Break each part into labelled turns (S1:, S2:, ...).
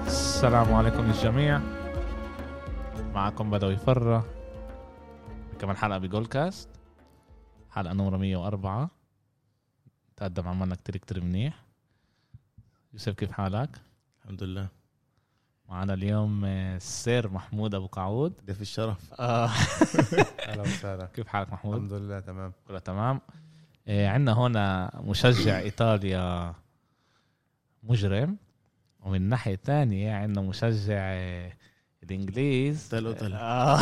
S1: السلام عليكم للجميع معكم بدوي فرة كمان حلقة بجول كاست حلقة نمرة 104 تقدم عملنا كتير كتير منيح يوسف كيف حالك؟
S2: الحمد لله
S1: معنا اليوم آه، السير محمود أبو قعود
S2: ضيف الشرف
S1: آه،
S3: اهلا وسهلا
S1: كيف حالك محمود؟
S3: الحمد لله تمام
S1: كله تمام آه، عندنا هنا مشجع ايطاليا مجرم ومن ناحيه تانية عندنا مشجع آه، الانجليز
S2: تل وتل.
S1: آه.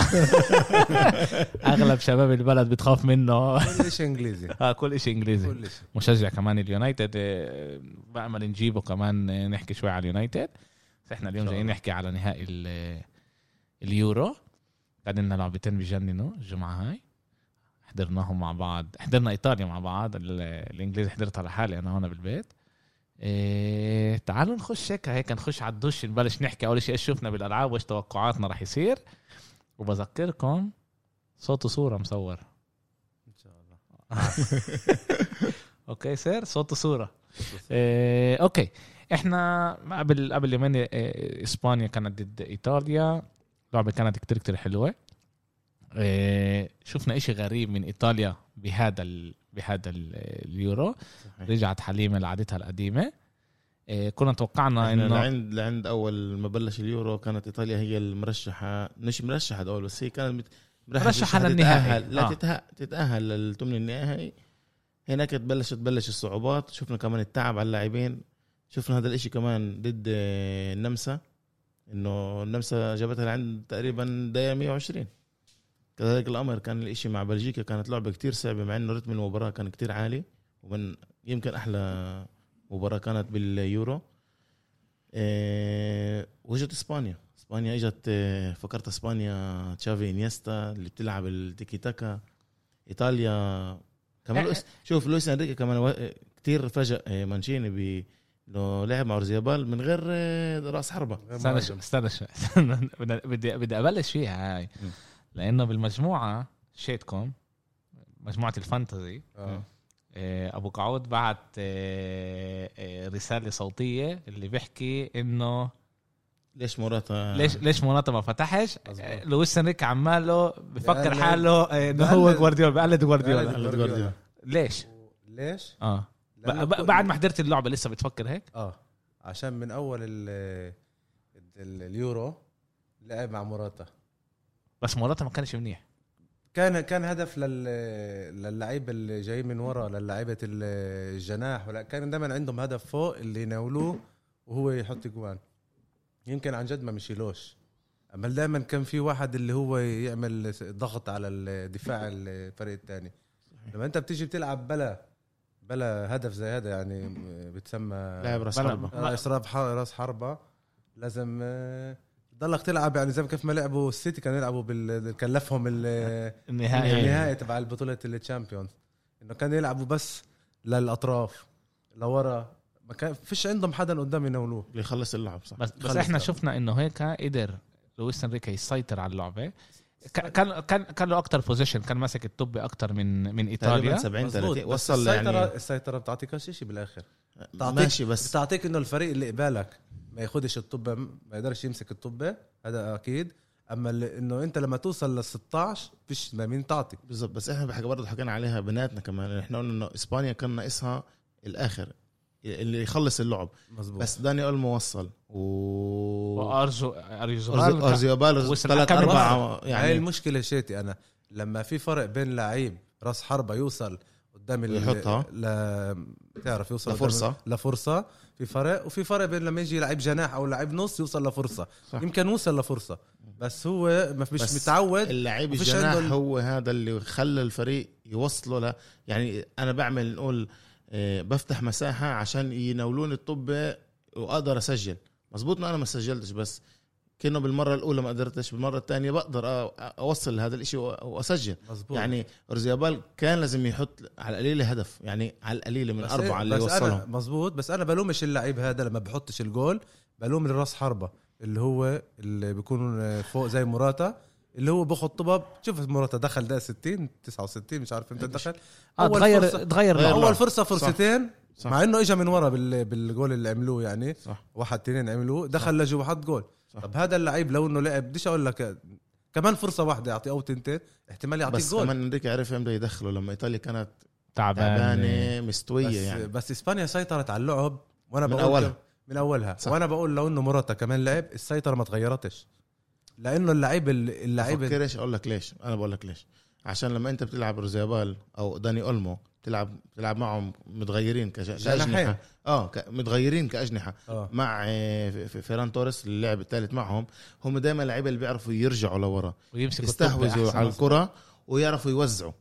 S1: اغلب شباب البلد بتخاف منه
S3: كل شيء انجليزي
S1: آه، كل شيء انجليزي
S3: كل شيء
S1: مشجع كمان اليونايتد آه، بامل نجيبه كمان آه، نحكي شوي على اليونايتد بس احنا اليوم
S2: إن شاء
S1: جايين
S2: الله.
S1: نحكي على نهائي ال- آه، اليورو كان لنا لعبتين بجننوا الجمعه هاي حضرناهم مع بعض حضرنا ايطاليا مع بعض ال- آه، الانجليز حضرتها لحالي انا هون بالبيت إيه تعالوا نخش هيك هيك نخش على الدش نبلش نحكي اول شيء ايش شفنا بالالعاب وايش توقعاتنا رح يصير وبذكركم صوت وصوره مصور
S3: ان شاء الله
S1: اوكي سير صوت وصوره إيه اوكي احنا قبل قبل يومين إيه، اسبانيا كانت ضد ايطاليا لعبه كانت كتير كتير حلوه إيه شفنا اشي غريب من ايطاليا بهذا ال... بهذا ال... اليورو
S2: صحيح.
S1: رجعت حليمه لعادتها القديمه إيه كنا توقعنا
S2: احنا
S1: انه
S2: لعند لعند اول ما بلش اليورو كانت ايطاليا هي المرشحه مش مرشحه اول بس هي كانت مت-
S1: مرشحة
S2: مش
S1: للنهائي.
S2: تتأهل. لا
S1: آه.
S2: تتأهل تتاهل للثمن النهائي هناك تبلشت تبلش الصعوبات شفنا كمان التعب على اللاعبين شفنا هذا الاشي كمان ضد آه، النمسا انه النمسا جابتها لعند تقريبا دقيقه 120 كذلك الامر كان الاشي مع بلجيكا كانت لعبه كتير صعبه مع انه رتم المباراه كان كتير عالي ومن يمكن احلى مباراه كانت باليورو إيه وجت اسبانيا اسبانيا اجت إيه، فكرت اسبانيا تشافي انيستا اللي بتلعب التيكي تاكا ايطاليا كمان لويس شوف لويس انريكي كمان و... آه، كتير فاجئ إيه، مانشيني ب انه لعب مع ارزيابال من غير إيه، راس حربه
S1: استنى شو- استنى شو- استنى بدي- بدي بدي ابلش فيها هاي
S2: م.
S1: لانه بالمجموعه شيتكم مجموعه الفانتزي
S3: آه.
S1: آه، ابو قعود بعت آه، آه، رساله صوتيه اللي بيحكي انه
S2: ليش موراتا
S1: ليش ليش موناتا ما فتحش
S3: آه. مظبوط.
S1: آه، لويس انريك عماله بفكر
S3: بقلد-
S1: حاله آه، انه هو
S3: بقلد-
S1: جوارديولا بقلد جوارديولا
S3: بقلد.
S2: قالت جوارديولا.
S1: ليش
S3: ليش؟
S1: اه ب-
S3: لأنه
S1: ب-
S3: كل-
S1: بعد ما حضرت اللعبه لسه بتفكر هيك
S3: اه عشان من اول ال ال- اليورو لعب مع موراتا
S1: بس موناتا ما كانش منيح
S3: كان كان هدف لل للعيب اللي جاي من ورا للعيبه ال- الجناح ولا كان دائما عندهم هدف فوق اللي يناولوه وهو يحط جوان يمكن عن جد ما مشيلوش اما دائما كان في واحد اللي هو يعمل ضغط على الدفاع الفريق الثاني لما انت بتيجي بتلعب بلا بلا هدف زي هذا يعني بتسمى
S2: لاعب راس
S1: بلا-
S2: حربه
S3: آه، اسراف ح- راس حربه لازم آه، تضلك تلعب يعني زي ما كيف ما لعبوا السيتي كانوا يلعبوا بال كلفهم ال-
S1: النهائي
S3: النهائي يعني تبع البطوله التشامبيونز انه كانوا يلعبوا بس للاطراف لورا ما كان فيش عندهم حدا قدام يناولوه
S2: اللي خلص اللعب صح
S1: بس بس
S3: خلص
S1: احنا
S3: طبعا.
S1: شفنا انه هيك قدر لويس انريكي يسيطر على اللعبه ك- كان كان كان له اكثر بوزيشن كان ماسك الطب اكثر من من
S2: تقريبا
S1: ايطاليا
S2: 70
S3: مظبوط،
S2: 30
S3: بس
S2: وصل
S3: السيطره
S2: يعني
S3: السيطره بتعطيكش شيء بالاخر بتعطيك-
S2: ماشي
S3: بس
S2: بس
S3: بتعطيك انه الفريق اللي قبالك ما ياخدش الطبه ما يقدرش يمسك الطبه هذا اكيد اما اللي- انه انت لما توصل لل 16 فيش ما مين تعطي
S2: بالظبط بس احنا بحكي برضه حكينا عليها بناتنا كمان احنا قلنا انه اسبانيا كان ناقصها الاخر اللي يخلص اللعب
S3: مزبوط
S2: بس داني اولمو وصل و
S1: وارزو اريزو
S2: أرز- ارزيابال
S1: وصل
S2: ثلاث
S1: كمان
S2: اربعة
S3: يعني هاي
S2: يعني
S3: المشكله شيتي انا لما في فرق بين لعيب راس حربه يوصل قدام ال-
S2: ويحطها.
S3: ل... بتعرف يوصل قدام-
S2: لفرصة.
S3: لفرصه في فرق وفي فرق بين لما يجي لعيب جناح او لعيب نص يوصل لفرصه
S2: صح.
S3: صح. يمكن وصل لفرصه بس هو ما فيش
S2: بس
S3: متعود
S2: اللعيب
S3: وفيش
S2: الجناح
S3: عنده ال-
S2: هو هذا اللي خلى الفريق يوصله ل يعني انا بعمل نقول آه، بفتح مساحه عشان يناولوني الطبه واقدر اسجل مزبوط انه انا ما سجلتش بس كأنه بالمره الاولى ما قدرتش بالمره الثانيه بقدر أ- اوصل لهذا الاشي وأ- واسجل
S3: مزبوط
S2: يعني ارزيابال كان لازم يحط على القليله هدف يعني على القليله من
S3: بس إيه،
S2: اربعه اللي
S3: بس أنا
S2: وصلهم
S3: مزبوط بس انا بلومش اللعيب هذا لما بحطش الجول بلوم الراس حربه اللي هو اللي بيكون فوق زي موراتا اللي هو بخط طبب شوف موراتا دخل ده 60 69 مش عارف امتى دخل
S1: اه
S3: أول
S1: تغير
S3: فرصة-
S1: تغير
S2: غير
S1: اللعب.
S2: لعب.
S3: اول فرصه فرصتين
S2: صح.
S3: مع انه اجى من ورا بال... بالجول اللي عملوه يعني
S2: صح
S3: واحد تنين عملوه دخل لجوا وحط جول
S2: صح.
S3: طب هذا اللعيب لو انه لعب بديش اقول لك كمان فرصه واحده يعطي او تنتين احتمال يعطيك
S2: بس
S3: جول
S2: كمان اندريكي عرف امتى إيه؟ يدخله لما ايطاليا كانت
S1: تعبان
S2: تعبانه
S3: بس,
S2: مستويه يعني
S3: بس اسبانيا سيطرت على اللعب وانا
S2: من
S3: بقول
S2: أولها.
S3: من اولها
S2: صح.
S3: صح. وانا بقول لو انه مراتا كمان لعب السيطره ما تغيرتش لانه اللعيب ال- اللعيب ال-
S2: فكرش اقول لك ليش انا بقول لك ليش عشان لما انت بتلعب روزابال او داني اولمو بتلعب بتلعب معهم متغيرين كج-
S3: جناحين.
S2: كاجنحه اه ك- متغيرين كاجنحه
S3: آه.
S2: مع آه، ف- ف- فيران توريس اللي لعب الثالث معهم هم دائما لعيبه اللي بيعرفوا يرجعوا لورا
S1: ويمسك
S2: يستحوذوا على الكره ويعرفوا يوزعوا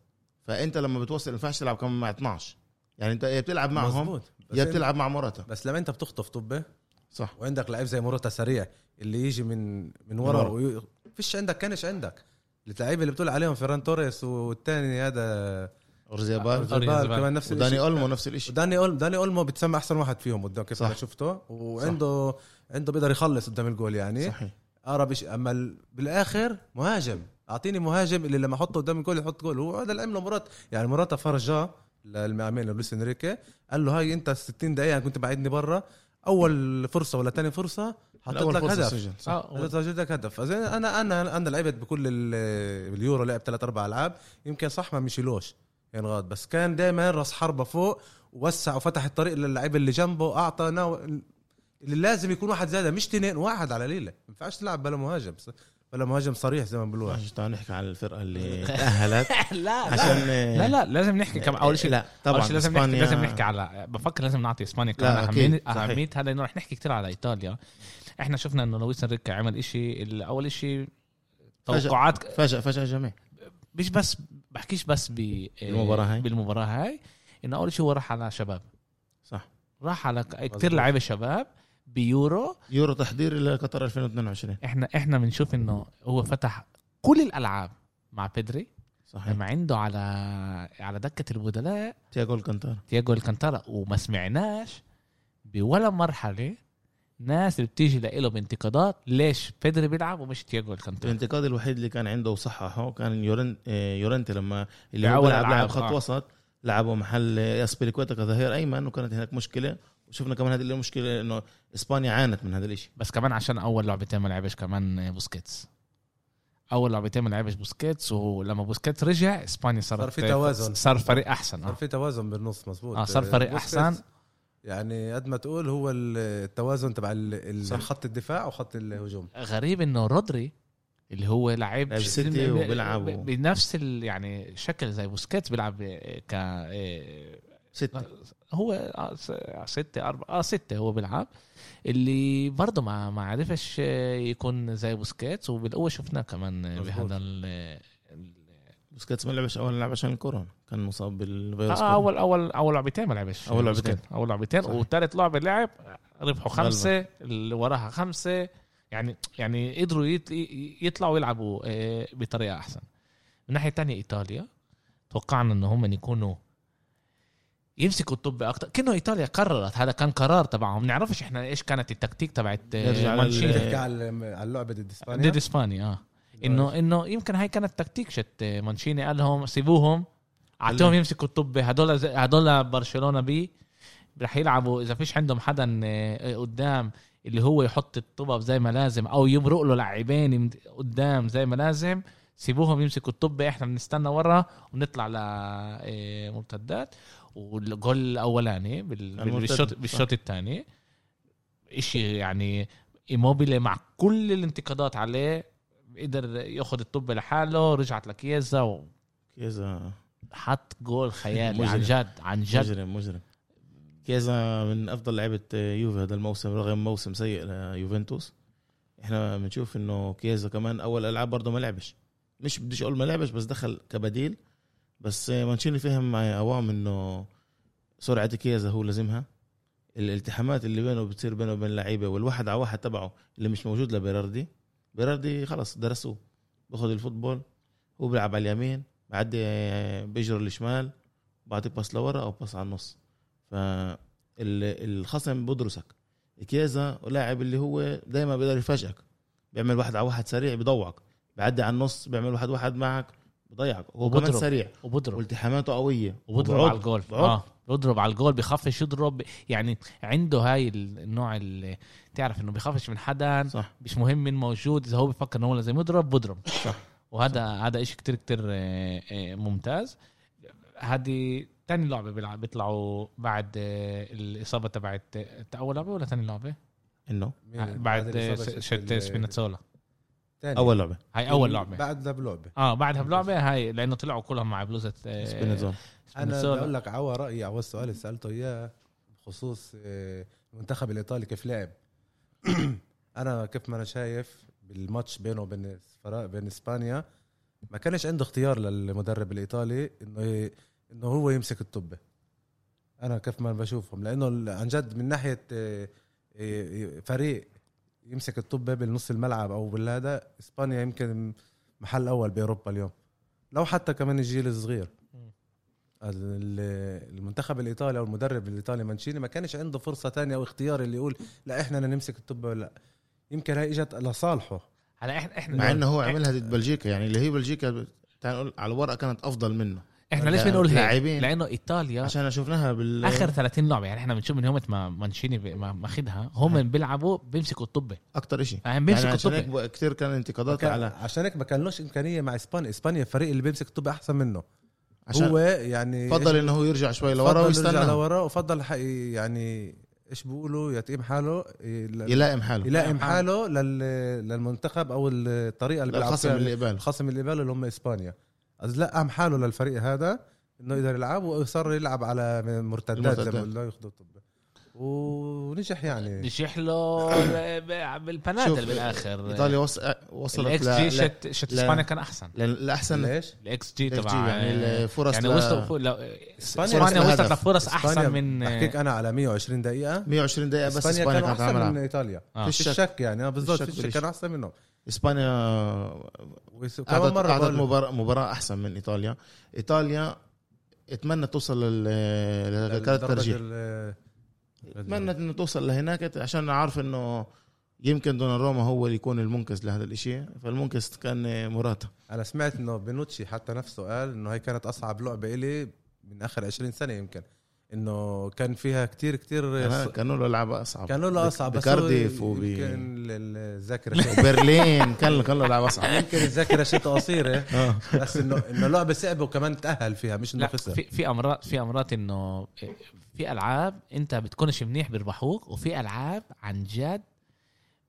S2: فانت لما بتوصل ما ينفعش تلعب كمان مع 12 يعني انت يا بتلعب معهم
S3: مظبوط. بس
S2: يا
S3: إنت-
S2: بتلعب مع موراتا
S3: بس لما انت بتخطف طبه
S2: صح
S3: وعندك لعيب زي موراتا سريع اللي يجي من من ورا
S2: ورا.
S3: وي... فيش عندك كانش عندك اللعيبه اللي بتقول عليهم فيران توريس والثاني هذا
S1: آه،
S2: اورزيابال
S1: أورزيابال.
S3: زبال كمان نفس الشيء
S2: وداني اولمو نفس الشيء
S3: وداني اولمو داني اولمو بتسمى احسن واحد فيهم قدام كيف
S2: صح.
S3: انا شفته وعنده عنده بيقدر يخلص قدام الجول يعني
S2: صحيح
S3: اقرب شيء اما ال- بالاخر مهاجم اعطيني مهاجم اللي لما احطه قدام الجول يحط جول هو هذا اللي عمله مرات يعني مرات فرجاه للمعامين لويس انريكي قال له هاي انت 60 دقيقه أنا كنت بعدني برا اول فرصه ولا ثاني فرصه حطيت
S2: الأول
S3: لك
S2: فرصة
S3: هدف
S2: سجل. صح.
S1: آه،
S3: سجلت لك هدف فزين انا انا انا لعبت بكل ال- اليورو لعب ثلاث اربع العاب يمكن صح ما مشيلوش ينغاد بس كان دائما راس حربه فوق ووسع وفتح الطريق للعيب اللي جنبه اعطى ناو... اللي لازم يكون واحد زياده مش اثنين واحد على ليله ما ينفعش تلعب بلا مهاجم بلا مهاجم صريح زي ما بيقولوا
S1: آه.
S2: ماشي تعال نحكي على الفرقه اللي تاهلت
S1: لا لا
S2: عشان
S1: لا لا لازم نحكي كم اول شيء
S2: لا
S1: طبعا
S2: طبعا
S1: لازم نحكي
S2: إسبانيا-
S1: لازم نحكي على بفكر لازم نعطي اسبانيا كمان
S2: لا، أكيد،
S1: اهميه
S2: صحيح.
S1: اهميه هلا انه رح نحكي كثير على ايطاليا احنا شفنا انه لويس انريكا عمل إشي ال- اول إشي
S2: فجأة.
S1: توقعات
S2: فجأة فجأة جميع
S1: مش بس بحكيش بس ب
S2: بالمباراة هاي.
S1: بالمباراه هاي انه اول شيء هو راح على شباب
S2: صح
S1: راح على كثير
S3: مظبوط.
S1: لعيبه شباب بيورو
S2: يورو تحضير لقطر 2022
S1: احنا احنا بنشوف انه هو فتح كل الالعاب مع بيدري
S2: صحيح
S1: لما عنده على على دكه البدلاء
S2: تياجو الكانتارا
S1: تياجو الكانتارا وما سمعناش بولا مرحله ناس اللي بتيجي له بانتقادات ليش بيدري بيلعب ومش تياجو الكانتارا
S2: الانتقاد الوحيد اللي كان عنده وصححه كان يورن... آه، يورنتي لما اللي هو
S1: بأول
S2: لعب
S1: ألعاب،
S2: لاعب خط
S1: آه.
S2: وسط لعبه محل آه، اسبيليكويتا كظهير ايمن وكانت هناك مشكله وشفنا كمان هذه المشكله انه اسبانيا عانت من هذا الشيء
S1: بس كمان عشان اول لعبتين ما لعبش كمان بوسكيتس اول لعبتين ما لعبش بوسكيتس ولما بوسكيتس رجع اسبانيا صارت
S3: صار في توازن.
S1: صار فريق احسن
S3: صار
S1: آه.
S3: في توازن بالنص مزبوط
S1: آه، صار فريق
S3: بوسكيتس
S1: أحسن.
S3: يعني قد ما تقول هو التوازن تبع ال-
S2: صح.
S3: ال- خط الدفاع وخط الهجوم
S1: غريب انه رودري اللي هو لعيب
S2: لعب سيتي
S1: ب- ب-
S2: وبيلعب و-
S1: بنفس ال- يعني شكل زي بوسكيتس بيلعب آه، ك آه،
S2: ستة
S1: هو آه س- ستة أربعة آه ستة هو بيلعب اللي برضه ما ما عرفش آه، يكون زي بوسكيتس وبالقوة شفناه كمان آه،
S3: مظبوط.
S1: بهذا ال- ال-
S2: بوسكيتس ما لعبش اول لعب عشان الكورونا كان مصاب بالفيروس
S1: آه اول اول اول لعبتين ما لعبش
S2: أول لعبتين.
S1: بوسكيت. اول لعبتين
S2: صحيح.
S1: وثالث لعبه لعب ربحوا خمسه اللي وراها خمسه يعني يعني قدروا يت- ي- يطلعوا يلعبوا آه، بطريقه احسن من ناحيه تانية ايطاليا توقعنا ان هم يكونوا يمسكوا الطب اكتر كأنه ايطاليا قررت هذا كان قرار تبعهم نعرفش احنا ايش كانت التكتيك تبعت آه،
S2: نرجع لل-
S1: مانشيني
S3: تحكي على على لعبه ضد اسبانيا
S1: ضد اسبانيا اه انه انه يمكن هاي كانت تكتيك شت مانشيني قال لهم سيبوهم اعطيهم يمسكوا الطب هدول زي- هدول برشلونه بي رح يلعبوا اذا فيش عندهم حدا آه، قدام اللي هو يحط الطبب زي ما لازم او يمرق له لاعبين يم- قدام زي ما لازم سيبوهم يمسكوا الطب احنا بنستنى ورا ونطلع لمرتدات والجول الاولاني بال- بال-
S2: المرتد،
S1: بالشوط
S2: صح.
S1: بالشوط الثاني اشي يعني ايموبيلي مع كل الانتقادات عليه قدر ياخذ الطب لحاله رجعت لكيزا
S2: كيزا
S1: وحط جول خيالي عن
S2: مجرم.
S1: جد عن جد
S2: مجرم مجرم كيزا من افضل لعيبه يوفي هذا الموسم رغم موسم سيء ليوفنتوس احنا بنشوف انه كيزا كمان اول العاب برضه ما لعبش مش بديش اقول ما لعبش بس دخل كبديل بس مانشيني فهم مع اوام انه سرعه كيزا هو لازمها الالتحامات اللي بينه بتصير بينه وبين اللعيبه والواحد على واحد تبعه اللي مش موجود لبيراردي بيراردي خلص درسوه باخذ الفوتبول هو بيلعب على اليمين بعدي بيجر الشمال بعطيك باس لورا او باس على النص فالخصم بدرسك كيزا لاعب اللي هو دائما بيقدر يفاجئك بيعمل واحد على واحد سريع بيضوعك بعدي على النص بيعمل واحد واحد معك بضيعك هو
S1: وبضرب.
S2: كمان سريع
S1: وبضرب
S2: والتحاماته قويه
S1: وبضرب
S2: وبعض.
S1: على الجول
S2: بعض.
S1: اه بضرب على الجول بخفش يضرب يعني عنده هاي النوع اللي تعرف انه بخفش من حدا
S2: صح
S1: مش مهم من موجود اذا هو بفكر انه هو لازم يضرب بضرب
S2: صح.
S1: وهذا هذا شيء كتير كتير آه، آه، ممتاز هذه تاني لعبه بيلعب بيطلعوا بعد آه، الاصابه تبعت آه، اول لعبه ولا تاني لعبه؟
S2: انه
S3: مين-
S1: بعد آه،
S3: الإصابة
S1: س-
S3: شت-
S1: شت
S3: ال-
S1: سبيناتسولا
S3: تاني.
S2: اول لعبه
S1: هاي اول لعبه
S3: بعدها بلعبه
S1: اه بعدها بلعبه هاي لانه طلعوا كلهم مع بلوزه آه،
S2: سبينزون
S3: انا
S1: سبيناتسولا.
S3: بدي اقول لك عوى رايي عوى السؤال اللي سالته اياه بخصوص آه، المنتخب الايطالي كيف لعب انا كيف ما انا شايف بالماتش بينه وبين فرا- بين اسبانيا ما كانش عنده اختيار للمدرب الايطالي انه ي- انه هو يمسك الطبه انا كيف ما بشوفهم لانه ال- عن جد من ناحيه آه، آه، فريق يمسك الطبه بالنص الملعب او بالهذا اسبانيا يمكن محل اول باوروبا اليوم لو حتى كمان الجيل الصغير ال- المنتخب الايطالي او المدرب الايطالي مانشيني ما كانش عنده فرصه تانية او اختيار اللي يقول لا احنا اللي نمسك الطب ولا لا يمكن هي اجت لصالحه
S1: هلا احنا احنا
S2: مع انه هو عملها ضد بلجيكا يعني اللي هي بلجيكا تعال نقول على الورقه كانت افضل منه
S1: احنا ليش
S2: لا-
S1: بنقول هيك؟
S2: لاعبين.
S1: لانه ايطاليا
S2: عشان شفناها بال
S1: اخر 30 لعبه يعني احنا بنشوف من يوم ما مانشيني ب- ما ماخدها هم بيلعبوا بيمسكوا الطبه
S2: اكتر شيء
S1: يعني بيمسكوا
S2: عشان
S1: الطبه
S2: هيك كثير كان انتقادات
S3: كان-
S2: على
S3: عشان هيك ما كان لهش امكانيه مع اسبانيا اسبانيا الفريق اللي بيمسك الطب احسن منه
S2: عشان
S3: هو يعني
S2: فضل انه هو يرجع شوي لورا ويستنى
S3: لورا وفضل حق- يعني ايش بيقولوا يتقيم حاله يل-
S2: يلائم حاله
S3: يلائم حاله لل- للمنتخب او الطريقه اللي بيلعب
S2: الخصم
S3: فيها
S2: اللي قبال
S3: الخصم اللي قباله اللي هم اسبانيا از لقم حاله للفريق هذا انه يقدر يلعب وصار يلعب على مرتدات زي ما
S2: المرتدات.
S3: قلنا ياخذوا طب ونجح يعني
S1: نجح له ب- بالبنادل
S2: إيه. شوف،
S1: بالاخر
S2: ايطاليا وص... وصلت
S1: الاكس
S2: ل...
S1: جي
S2: ل...
S1: شت شت
S2: لا.
S1: اسبانيا كان احسن
S2: ل... لاحسن
S3: ليش؟
S1: الاكس جي
S2: XG
S1: تبع
S2: يعني الفرص
S1: يعني
S2: ل-
S1: وصلوا فوق- لو-
S3: إسبانيا يعني
S1: اسبانيا وصلت
S2: وصلت لهدف.
S1: لفرص احسن
S3: إسبانيا
S1: من
S3: بحكيك انا على 120 دقيقة
S2: 120 دقيقه يعني بس
S3: اسبانيا
S2: اسبانيا
S3: كانوا
S2: كانت
S3: احسن من
S2: عامله
S3: ايطاليا
S1: آه.
S2: في
S3: في
S2: الشك.
S3: الشك يعني آه بالضبط
S2: في
S3: في
S2: الشك
S3: الشك كان احسن منه
S2: اسبانيا
S3: وس- كمان
S2: قعدت
S3: مرة
S2: قعدت
S3: بقول-
S2: مباراة, مباراة احسن من ايطاليا ايطاليا اتمنى توصل لل للركلات
S3: درجة
S2: الترجيح
S3: ال-
S2: اتمنى انه توصل لهناك عشان عارف انه يمكن دوناروما هو اللي يكون المنقذ لهذا الاشي فالمنقذ كان موراتا
S3: انا سمعت انه بنوتشي حتى نفسه قال انه هي كانت اصعب لعبة الي من اخر 20 سنة يمكن انه كان فيها كتير كتير
S2: يعني كان- كانوا له لعبة اصعب
S3: كانوا له اصعب بس
S2: بكارديف
S3: هو
S2: وب-
S3: يمكن ال- الذاكره
S2: برلين كان كان له لعبة اصعب
S3: يمكن الذاكره شيء قصيره
S2: آه.
S3: بس انه انه لعبه صعبه وكمان تاهل فيها مش انه
S1: لا
S3: خسر
S1: في في امرات في امرات انه في العاب انت بتكونش منيح بيربحوك وفي العاب عن جد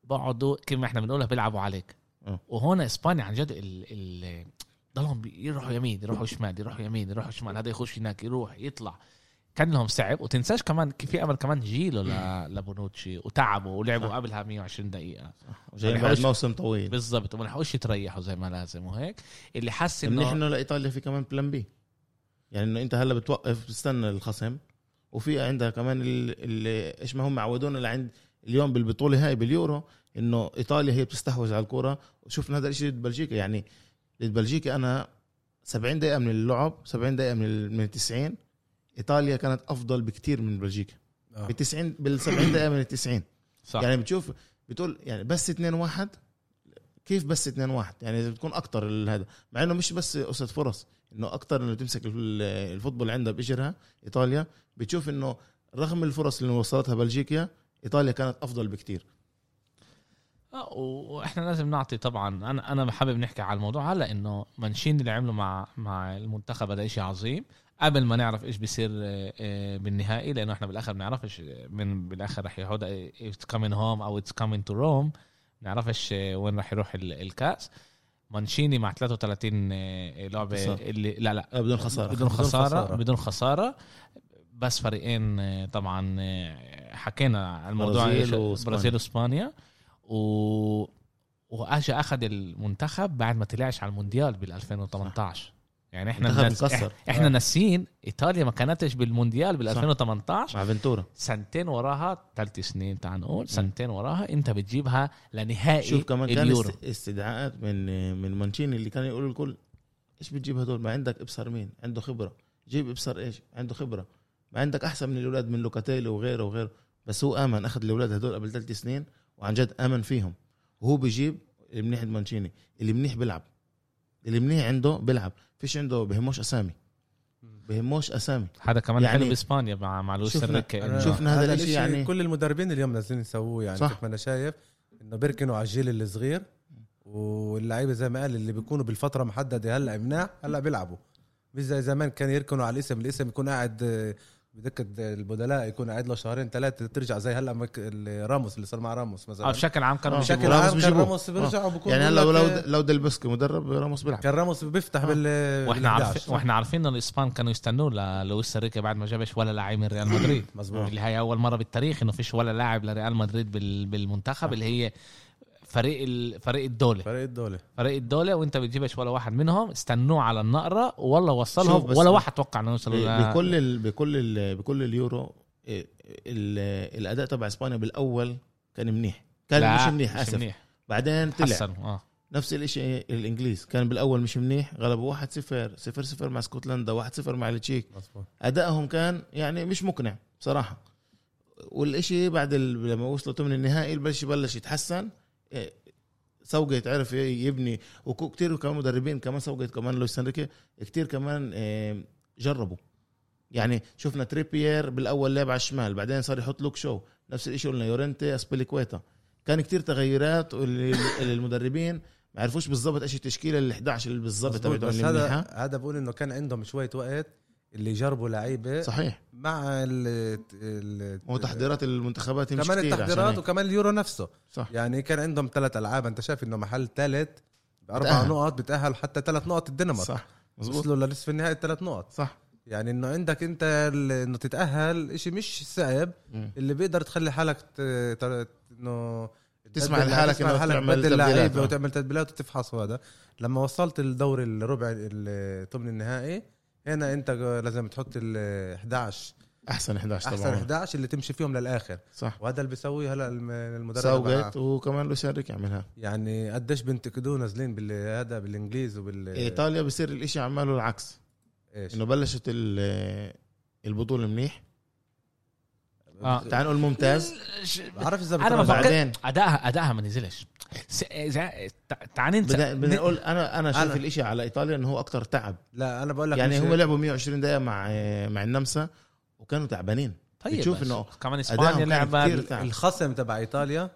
S1: بقعدوا كما احنا بنقولها بيلعبوا عليك
S2: آه.
S1: وهون اسبانيا عن جد ال ال ضلهم بي- يروحوا يمين يروحوا شمال يروحوا يمين يروحوا شمال هذا يخش هناك يروح يطلع كان لهم صعب وتنساش كمان كيف في امل كمان جيله ل- لبونوتشي وتعبوا ولعبوا قبلها 120 دقيقه
S2: جايين بعد موسم طويل
S1: بالضبط وما لحقوش يتريحوا زي ما لازم وهيك اللي حس انه
S2: نحن لايطاليا في كمان بلان بي يعني انه انت هلا بتوقف بتستنى الخصم وفي عندها كمان ال- ال- ايش ما هم عودونا لعند اليوم بالبطوله هاي باليورو انه ايطاليا هي بتستحوذ على الكره وشفنا هذا الشيء ضد بلجيكا يعني ضد بلجيكا انا 70 دقيقه من اللعب 70 دقيقه من ال- من ال 90 ايطاليا كانت افضل بكتير من بلجيكا
S3: آه.
S2: بال 90 بال 70 دقيقه من ال 90
S1: صح
S2: يعني بتشوف بتقول يعني بس 2 1 كيف بس 2 1 يعني إذا بتكون اكتر هذا مع انه مش بس قصه فرص انه اكتر انه تمسك ال- الفوتبول عندها باجرها ايطاليا بتشوف انه رغم الفرص اللي وصلتها بلجيكا ايطاليا كانت افضل بكتير
S1: آه، و- واحنا لازم نعطي طبعا انا انا حابب نحكي على الموضوع هلا انه مانشيني اللي عمله مع مع المنتخب هذا شيء عظيم قبل ما نعرف ايش بيصير آه، آه، بالنهائي لانه احنا بالاخر بنعرفش آه، من بالاخر رح يعود آه، اتس كامين هوم او اتس كامين تو روم بنعرفش آه، وين رح يروح ال- الكاس مانشيني مع 33 آه، لعبه
S2: خسارة.
S1: اللي لا لا
S2: آه، بدون خساره
S1: بدون خساره
S3: خسارة.
S1: بدون خساره بس فريقين آه، طبعا آه، حكينا عن الموضوع
S2: برازيل
S1: إيش-
S2: وإسبانيا.
S1: برازيل واسبانيا و واجى اخذ المنتخب بعد ما طلعش على المونديال بال 2018 يعني احنا
S2: المنتخب
S1: ناس...
S2: مكسر.
S1: احنا
S2: آه.
S1: ناسيين ايطاليا ما كانتش بالمونديال بال
S2: صح.
S1: 2018
S2: مع فنتورا
S1: سنتين وراها ثلاث سنين تعال نقول سنتين وراها انت بتجيبها لنهائي
S2: شوف كمان كان
S1: إيه، اليورو
S2: است- استدعاءات من من مانشيني اللي كان يقول الكل ايش بتجيب هدول ما عندك ابصر مين عنده خبره جيب ابصر ايش عنده خبره ما عندك احسن من الاولاد من لوكاتيلي وغيره وغيره بس هو امن اخذ الاولاد هدول قبل ثلاث سنين وعن جد امن فيهم وهو بيجيب المنيح عند مانشيني اللي منيح بيلعب اللي منيح عنده بيلعب فيش عنده بهموش اسامي بهموش اسامي
S1: حدا كمان
S2: يعني-
S1: يعني باسبانيا مع مع لويس
S2: شفنا-
S1: انريكي
S3: أنا-
S1: إنه-
S2: شوف- شفنا هذا الإشي
S3: الإشي
S2: يعني-
S3: كل المدربين اليوم نازلين يسووه يعني
S2: صح.
S3: صح. كيف ما انا شايف انه بيركنوا على الجيل الصغير واللعيبه زي ما قال اللي بيكونوا بالفتره محدده هلا مناح هلا بيلعبوا مش زي زمان كان يركنوا على الاسم الاسم يكون قاعد آه، بدكة البدلاء يكون قاعد له شهرين ثلاثه ترجع زي هلا مك- ال- راموس اللي صار مع راموس
S1: آه،
S3: مثلا
S1: بشكل عام كانوا
S2: آه.
S1: بيجيبوا-
S3: بشكل
S2: راموس
S3: عام كان
S2: بيجيبوه.
S3: راموس بيرجع وبكون
S2: يعني
S3: بيقول
S2: هلا
S3: لك،
S2: لو
S3: آه،
S2: لو ديلبسكي مدرب راموس بيلعب
S3: كان راموس بيفتح بال
S1: واحنا
S3: بال-
S1: عارفين واحنا عارفين ان الاسبان كانوا يستنوه للويس انريكي بعد ما جابش ولا لاعب من ريال مدريد
S3: مظبوط.
S1: اللي هي اول مره بالتاريخ انه فيش ولا لاعب لريال مدريد بال- بالمنتخب اللي هي فريق ال- فريق الدوله
S3: فريق الدولة
S1: فريق الدوله وانت بتجيبش ولا واحد منهم استنوه على النقره ولا
S2: شوف
S1: وصلهم
S2: بس
S1: ولا
S2: ب-
S1: واحد توقع انه يوصل ولا-
S2: بكل ال... بكل ال... بكل اليورو إيه، ال... الاداء تبع اسبانيا بالاول كان منيح كان
S1: لا،
S2: مش منيح اسف
S1: منيح.
S2: بعدين طلع
S1: حسنوا اه
S2: نفس الشيء الانجليز كان بالاول مش منيح غلبوا 1-0 0-0 مع اسكتلندا 1-0 مع التشيك
S3: مظبوط
S2: ادائهم كان يعني مش مقنع بصراحه والإشي بعد ال... لما وصلوا ثمن النهائي البلش بلش يتحسن إيه، سوقة عرف ي- يبني وكثير كمان مدربين كمان سوقة كمان لويس انريكي كثير كمان إيه، جربوا يعني شفنا تريبيير بالاول لعب على الشمال بعدين صار يحط لوك شو نفس الإشي قلنا يورنتي اسبيليكويتا كان كتير تغيرات واللي اللي المدربين ما عرفوش بالضبط ايش التشكيله ال 11 اللي بالضبط
S3: مظبوط،
S2: تبعتهم
S3: بس
S2: اللي
S3: هذا
S2: منيحه
S3: هذا بقول انه كان عندهم شويه وقت اللي يجربوا لعيبه
S2: صحيح
S3: مع ال ال
S2: هو تحضيرات المنتخبات هي مش
S3: كمان
S2: كتير عشان
S3: التحضيرات
S2: هيك.
S3: وكمان اليورو نفسه
S2: صح
S3: يعني كان عندهم ثلاث العاب انت شايف انه محل ثالث باربع
S2: تأهل.
S3: نقط بتاهل حتى ثلاث نقط الدنمارك
S2: صح مظبوط
S3: وصلوا لنصف النهائي ثلاث نقط
S2: صح
S3: يعني انه عندك انت ال- انه تتاهل شيء مش صعب
S2: مم.
S3: اللي بيقدر تخلي حالك ت- ت- انه
S2: تسمع
S3: تبدل-
S2: لحالك إنه
S3: تسمع لحالك
S2: تعمل
S3: تبدل
S2: تبديلات،
S3: لعيبه
S2: آه.
S3: وتعمل تبديلات وتفحص وهذا لما وصلت الدوري الربع الثمن النهائي هنا انت لازم تحط ال 11
S2: احسن 11
S3: احسن
S2: طبعا
S3: 11 اللي تمشي فيهم للاخر
S2: صح
S3: وهذا اللي بيسويه هلا الم- المدرب
S2: سوقت
S3: مع-
S2: وكمان لويس انريكي عملها
S3: يعني قديش بينتقدوه نازلين بال- هذا بالانجليز وبال
S2: ايطاليا بصير الاشي عماله العكس
S3: ايش
S2: انه بلشت ال- البطوله منيح
S1: آه.
S2: تعال نقول ممتاز
S3: بعرف اذا
S1: أنا ما
S3: بتراجع.
S1: بفكر-
S2: بعدين
S1: ادائها ادائها ما نزلش س- إذا- تع- تعال ننسى
S2: بدنا بدنا نقول انا انا شايف
S3: أنا-
S2: الاشي على ايطاليا انه هو اكتر تعب
S3: لا انا بقول لك
S2: يعني
S3: مش-
S2: هم لعبوا 120 دقيقه مع مع النمسا وكانوا تعبانين بتشوف
S1: بس
S2: إنه
S1: طيب، كمان
S2: أدائهم
S1: اسبانيا
S2: كان
S1: لعبه
S2: كتير تعب
S3: الخصم تبع ايطاليا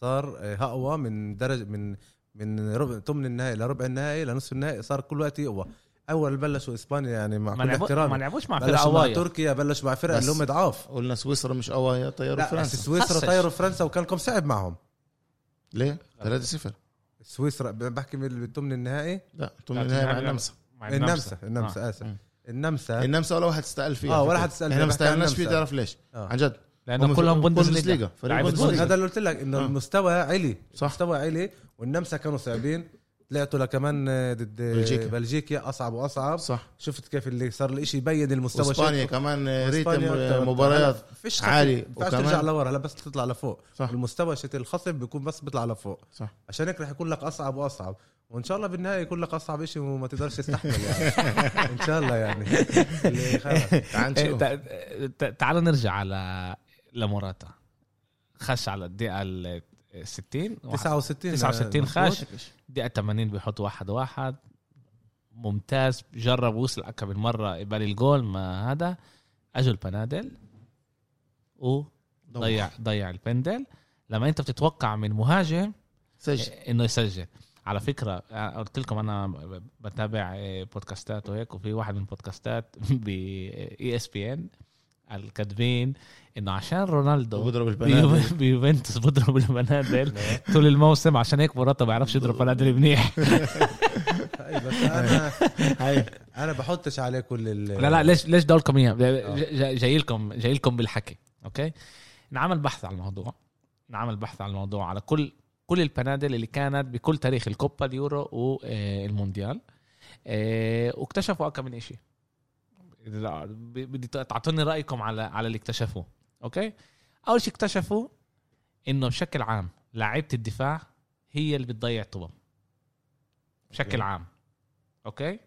S3: صار آه، اقوى من درجه من من ربع ثمن النهائي لربع النهائي لنصف النهائي صار كل وقت يقوى اول بلشوا اسبانيا يعني مع
S1: ما
S3: كل
S1: لعبوش ما
S3: احترامي
S1: لعبوش مع فرق
S3: بلشوا مع
S1: قوايه
S3: تركيا بلشوا مع فرق
S2: بس-
S3: اللي هم ضعاف
S2: قلنا سويسرا مش قوايا طيروا
S3: لا بس
S2: فرنسا
S3: سويسرا
S1: حسش.
S3: طيروا فرنسا وكان لكم صعب معهم
S2: ليه 3-0
S3: سويسرا بحكي بالثمن النهائي
S2: لا ثم النهائي مع النمسا
S1: مع آه.
S3: النمسا النمسا
S2: مم.
S3: اسف النمسا
S2: النمسا ولا واحد استقل فيه
S3: آه، ولا حد استقل فيه.
S2: احنا ما
S3: بحكي عن
S2: استقلناش فيه
S3: النمسا.
S2: تعرف ليش
S3: آه.
S2: عن جد
S1: لانه
S2: هم
S1: كلهم
S2: في-
S1: بوندسليغا
S2: بوندسليغا. فريق
S1: لعيبة
S2: بوندسليغا.
S1: بوندسليغا.
S3: هذا اللي قلت لك انه
S2: آه.
S3: المستوى عالي
S2: صح.
S3: المستوى عالي والنمسا كانوا صعبين طلعتوا لكمان آه، ضد آه،
S2: بلجيكا.
S3: بلجيكا اصعب واصعب
S2: صح
S3: شفت كيف اللي صار الاشي يبين المستوى
S2: واسبانيا
S3: شكله.
S2: كمان آه،
S3: وإسبانيا أكتر.
S2: ريتم مباريات
S3: هلا فيش
S2: عالي.
S3: عالي ما
S2: وكمان-
S3: ترجع لورا هلا بس تطلع لفوق
S2: صح.
S3: صح. المستوى شت الخصم بيكون بس بيطلع لفوق
S2: صح.
S3: عشان هيك رح يكون لك اصعب واصعب وان شاء الله بالنهايه يكون لك اصعب شيء وما تقدرش تستحمل يعني ان شاء الله يعني اللي خلص.
S2: تعال
S1: إيه،
S2: نشوف
S1: تع- تع- تعالوا نرجع على لموراتا خش على الدقيقه ال 60
S3: 69
S1: 69
S3: مظبوط.
S1: خاش دقيقه 80 بيحط واحد واحد ممتاز جرب وصل اكم من مره يبالي الجول ما هذا اجوا البنادل وضيع ضيع البندل لما انت بتتوقع من مهاجم
S2: سجل
S1: انه إيه، يسجل على فكره أنا قلت لكم انا بتابع إيه، بودكاستات وهيك وفي واحد من البودكاستات ب E اي اس بي ان الكاتبين انه عشان رونالدو
S2: وبضرب البنات
S1: بيو- بيوفنتوس بضرب البنادل طول الموسم عشان هيك مراته ما بيعرفش يضرب بنادل منيح
S3: أي، بس انا
S2: هاي
S3: انا بحطش عليه كل ال
S1: لا لا ليش ليش دولكم اياه جاي- جاي لكم جاي لكم بالحكي اوكي نعمل بحث على الموضوع نعمل بحث على الموضوع على كل كل البنادل اللي كانت بكل تاريخ الكوبا اليورو والمونديال آه، واكتشفوا أكم من شيء بدي تعطوني رايكم على على اللي اكتشفوه اوكي اول شيء اكتشفوا انه بشكل عام لعيبه الدفاع هي اللي بتضيع طبم بشكل عام اوكي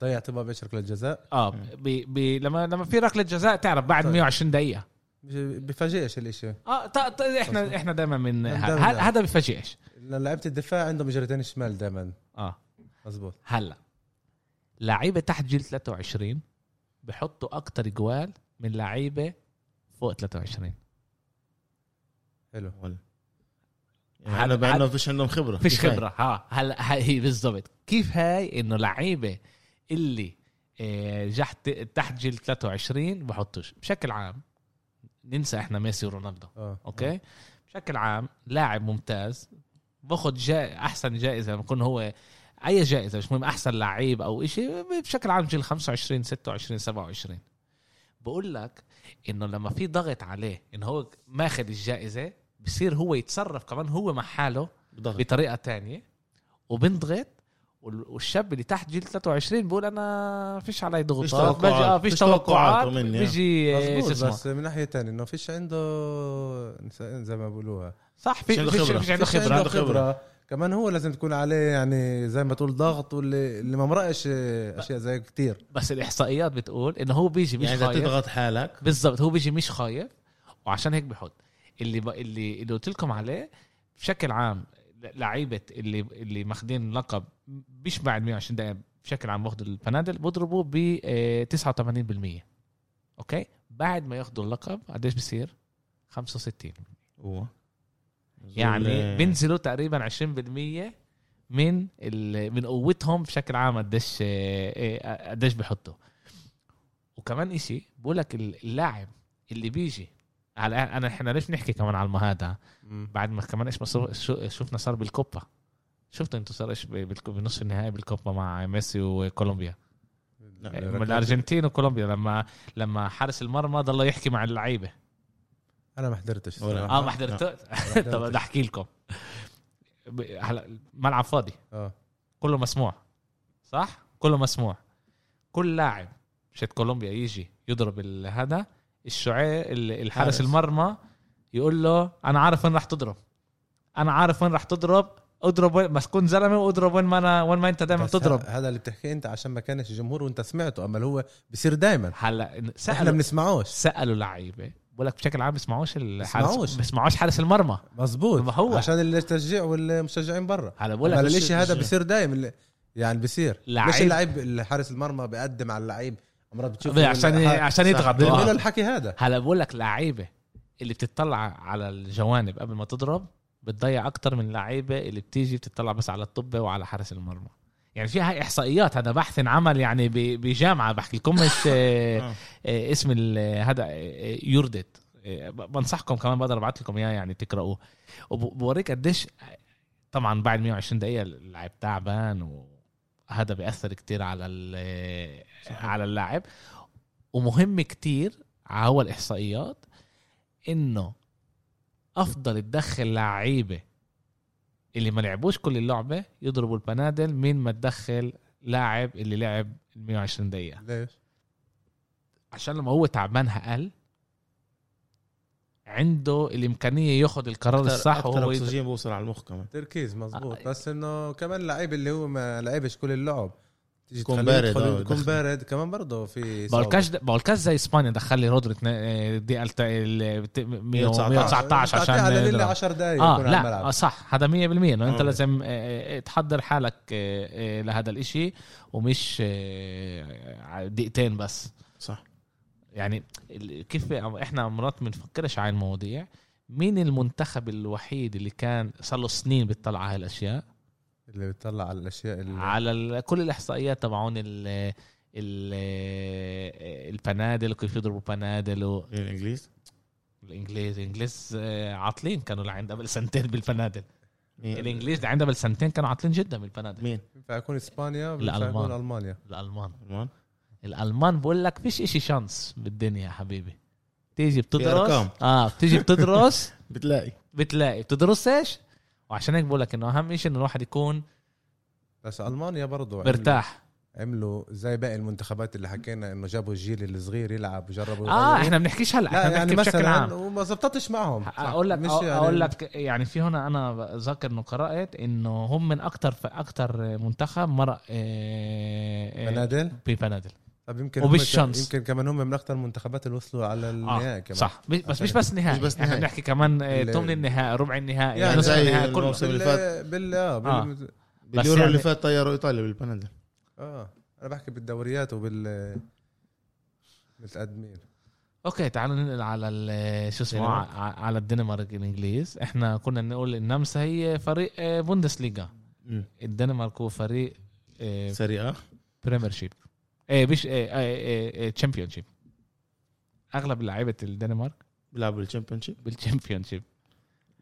S3: ضيع طبعا بايش ركله الجزاء
S1: آه، اه ب... ب... لما لما في ركله جزاء تعرف بعد
S3: طيب.
S1: 120 دقيقه
S3: بفاجئش الاشي
S1: اه تا تا احنا
S3: صح.
S1: احنا دائما من
S3: دايماً.
S1: هذا هذا بفاجئش
S3: لأن لعيبه الدفاع عندهم اجرتين شمال دائما
S1: اه
S3: مزبوط
S1: هلا لعيبه تحت جيل 23 بحطوا اكتر جوال من لعيبه فوق 23
S3: حلو
S2: ولا
S1: عاد-
S2: يعني مع انه
S1: عاد-
S2: فيش عندهم خبره
S1: فيش
S2: كفاية.
S1: خبره ها آه، هلا ها- هي بالضبط كيف هاي انه لعيبه اللي آه، جحت تحت جيل 23 بحطوش بشكل عام ننسى احنا ميسي ورونالدو
S3: اه
S2: نعم.
S1: اوكي بشكل عام لاعب ممتاز باخذ جا... احسن جائزه لما يكون هو اي جائزه مش مهم احسن لعيب او شيء بشكل عام جيل 25 26 27 بقول لك انه لما في ضغط عليه انه هو ماخذ الجائزه بصير هو يتصرف كمان هو مع حاله
S2: بضغط
S1: بطريقه تانية وبنضغط وال- والشاب اللي تحت جيل 23 بيقول انا فيش علي ضغوطات
S2: توقعات.
S1: بجي اه فيش
S2: فيش توقعات
S1: توقعات
S2: مني.
S1: بيجي آه، شو
S3: مزبوط
S1: اسمه
S3: بس من ناحيه تانية انه فيش عنده نس- زي ما بقولوها
S1: صح
S2: فيش
S1: في
S2: عنده
S1: فيش
S2: خبرة.
S1: فيش عنده
S3: فيش
S1: خبره
S2: عنده خبرة.
S3: كمان هو لازم تكون عليه يعني زي ما تقول ضغط واللي اللي ما مرقش آه، اشياء زي كتير
S1: بس الاحصائيات بتقول انه هو بيجي مش
S2: يعني اذا
S1: خايف
S2: تضغط حالك
S1: بالضبط هو بيجي مش خايف وعشان هيك بحط اللي ب... اللي اللي قلت لكم عليه بشكل عام لعيبه اللي اللي ماخذين لقب مش بعد 120 دقيقه بشكل عام باخذوا البنادل بضربوا ب آه، 89% اوكي بعد ما ياخذوا اللقب قديش بصير 65
S2: أوه.
S1: يعني
S2: زول- آه،
S1: بينزلوا تقريبا 20% من ال... من قوتهم بشكل عام قديش آه، قديش بحطوا وكمان إشي بقول لك اللاعب اللي بيجي على انا احنا ليش نحكي كمان على المهادة بعد ما كمان ايش ما صو- شو- شفنا صار بالكوبا شفتوا انتوا صار ايش بال- بالك- بنص النهائي بالكوبا مع ميسي وكولومبيا من الارجنتين وكولومبيا لما لما حارس المرمى ضل يحكي مع اللعيبه
S3: انا ما حضرتش
S2: ولا.
S3: الصراحة.
S1: اه ما
S2: لا.
S1: حضرت
S3: ما
S1: طب بدي
S3: حضرتش.
S1: احكي لكم ب- هلا ملعب فاضي
S3: اه
S1: كله مسموع صح كله مسموع كل لاعب شت كولومبيا يجي يضرب ال- هذا الشعاع ال- الحارس
S2: حارس.
S1: المرمى يقول له انا عارف وين راح تضرب انا عارف وين راح تضرب اضرب وين بس كن زلمه واضرب وين ما انا وين ما انت دائما
S3: بس
S1: تضرب
S3: ه- هذا اللي بتحكيه انت عشان ما كانش جمهور وانت سمعته اما هو بصير دائما
S1: هلا
S3: احنا
S1: سالوا
S3: بنسمعوش
S1: سالوا لعيبه بقول لك بشكل عام بيسمعوش الحارس
S3: بيسمعوش.
S1: بيسمعوش حارس المرمى
S3: مزبوط
S1: ما هو.
S3: عشان التشجيع والمشجعين برا
S1: هلا بقول
S3: ولا
S1: لك
S3: الاشي هذا
S2: التشجيع.
S3: بصير دائما يعني بصير
S1: لعيب.
S3: ليش اللعيب حارس المرمى بيقدم على اللعيب مرات بتشوف
S1: عشان
S3: الح-
S1: عشان يضغط
S3: بيرمي له
S1: آه.
S3: الحكي هذا
S1: هلا بقول لك لعيبه اللي بتطلع على الجوانب قبل ما تضرب بتضيع اكتر من لعيبه اللي بتيجي بتطلع بس على الطبه وعلى حارس المرمى يعني في هاي احصائيات هذا بحث انعمل يعني ب- بجامعه بحكي لكم مش آه،
S2: آه.
S1: آه، اسم ال- هذا آه، يوردت آه، ب- بنصحكم كمان بقدر ابعث لكم اياه يعني تقراوه وبوريك قديش طبعا بعد 120 دقيقه اللاعب تعبان وهذا بياثر كتير على ال- على اللاعب ومهم كتير هو الاحصائيات انه افضل تدخل لعيبه اللي ما لعبوش كل اللعبه يضربوا البنادل من ما تدخل لاعب اللي لعب 120 دقيقه
S3: ليش؟
S1: عشان لما هو تعبان اقل عنده الامكانيه ياخذ القرار
S2: أكتر-
S1: الصح
S2: أكتر
S1: وهو يد-
S2: اكسجين بوصل على المخ كمان
S3: تركيز مزبوط
S1: آه.
S3: بس انه كمان لعيب اللي هو ما لعبش كل اللعب تيجي
S2: يكون
S3: تخليه
S2: بارد،
S3: يدخل-
S2: آه،
S3: يكون
S2: يدخل.
S3: بارد كمان برضه في إصابة.
S1: بالكاش بالكاش زي اسبانيا دخل لي رودري اتنا- دقيقه الت- ال- بت- 119 عشان
S3: تعطيه على ليلة
S1: يضرب.
S3: 10 دقائق
S1: اه
S3: يكون على الملعب.
S1: لا آه صح هذا 100% انه انت
S2: آه.
S1: لازم آه، آه، تحضر حالك آه، آه، لهذا الاشي ومش آه، دقيقتين بس
S2: صح
S1: يعني ال- كيف احنا مرات بنفكرش على المواضيع مين المنتخب الوحيد اللي كان صار له سنين بتطلع على هالاشياء
S3: اللي بيطلع على الاشياء اللي
S1: على ال- كل الاحصائيات تبعون ال ال البنادل وكيف يضربوا بنادل
S2: الانجليز
S1: والانجليز الانجليز آه، عاطلين كانوا لعند قبل سنتين بالبنادل الانجليز لعند قبل سنتين كانوا عاطلين جدا بالبنادل
S2: مين؟
S3: بينفع يكون اسبانيا بينفع يكون
S1: الألمان.
S3: المانيا
S1: الالمان
S2: المان
S1: الالمان بقول لك فيش اشي شانس بالدنيا يا حبيبي تيجي بتدرس
S2: أرقام.
S1: اه بتيجي بتدرس
S2: بتلاقي
S1: بتلاقي بتدرس ايش وعشان هيك بقول لك انه اهم شيء انه الواحد يكون
S3: بس المانيا برضه
S1: مرتاح
S3: عملوا زي باقي المنتخبات اللي حكينا انه جابوا الجيل الصغير يلعب وجربوا
S1: اه
S3: يغيروا.
S1: احنا بنحكيش هلا احنا
S3: لا يعني
S1: بنحكي بشكل عام
S3: مثلا وما زبطتش معهم
S1: اقول لك أو- اقول لك يعني في هنا انا ذاكر انه قرات انه هم من اكثر اكثر منتخب مرق آه، آه،
S3: إيه. بنادل
S1: ببنادل
S3: طب يمكن
S1: وبالشانس.
S3: هم يمكن كمان هم من اكثر المنتخبات اللي وصلوا على النهائي
S1: آه،
S3: كمان
S1: صح بس- بس مش
S3: عشان-
S1: بس نهائي
S2: مش بس
S1: احنا
S2: نهائي.
S1: بنحكي كمان آه،
S3: ال-
S1: ثمن النهائي ربع النهائي
S3: يعني
S1: نصف
S2: زي
S1: النهائي كله
S2: الموسم
S3: بال
S2: اللي فات.
S3: بال اه
S1: آه.
S3: بال
S2: اليورو
S1: يعني-
S2: اللي فات طيروا ايطاليا بالبنالتي
S3: اه انا بحكي بالدوريات وبال متقدمين
S1: اوكي تعالوا ننقل على ال- آه، شو اسمه
S2: الدنمارك.
S1: ع- على الدنمارك الانجليز احنا كنا نقول النمسا هي فريق آه، بوندسليغا الدنمارك هو فريق آه،
S3: إيه.
S2: سريعه
S1: بريمير شيب ايه مش إيه، تشامبيون شيب اغلب لعيبه الدنمارك
S2: بيلعبوا بالتشامبيونشيب
S1: بالتشامبيون شيب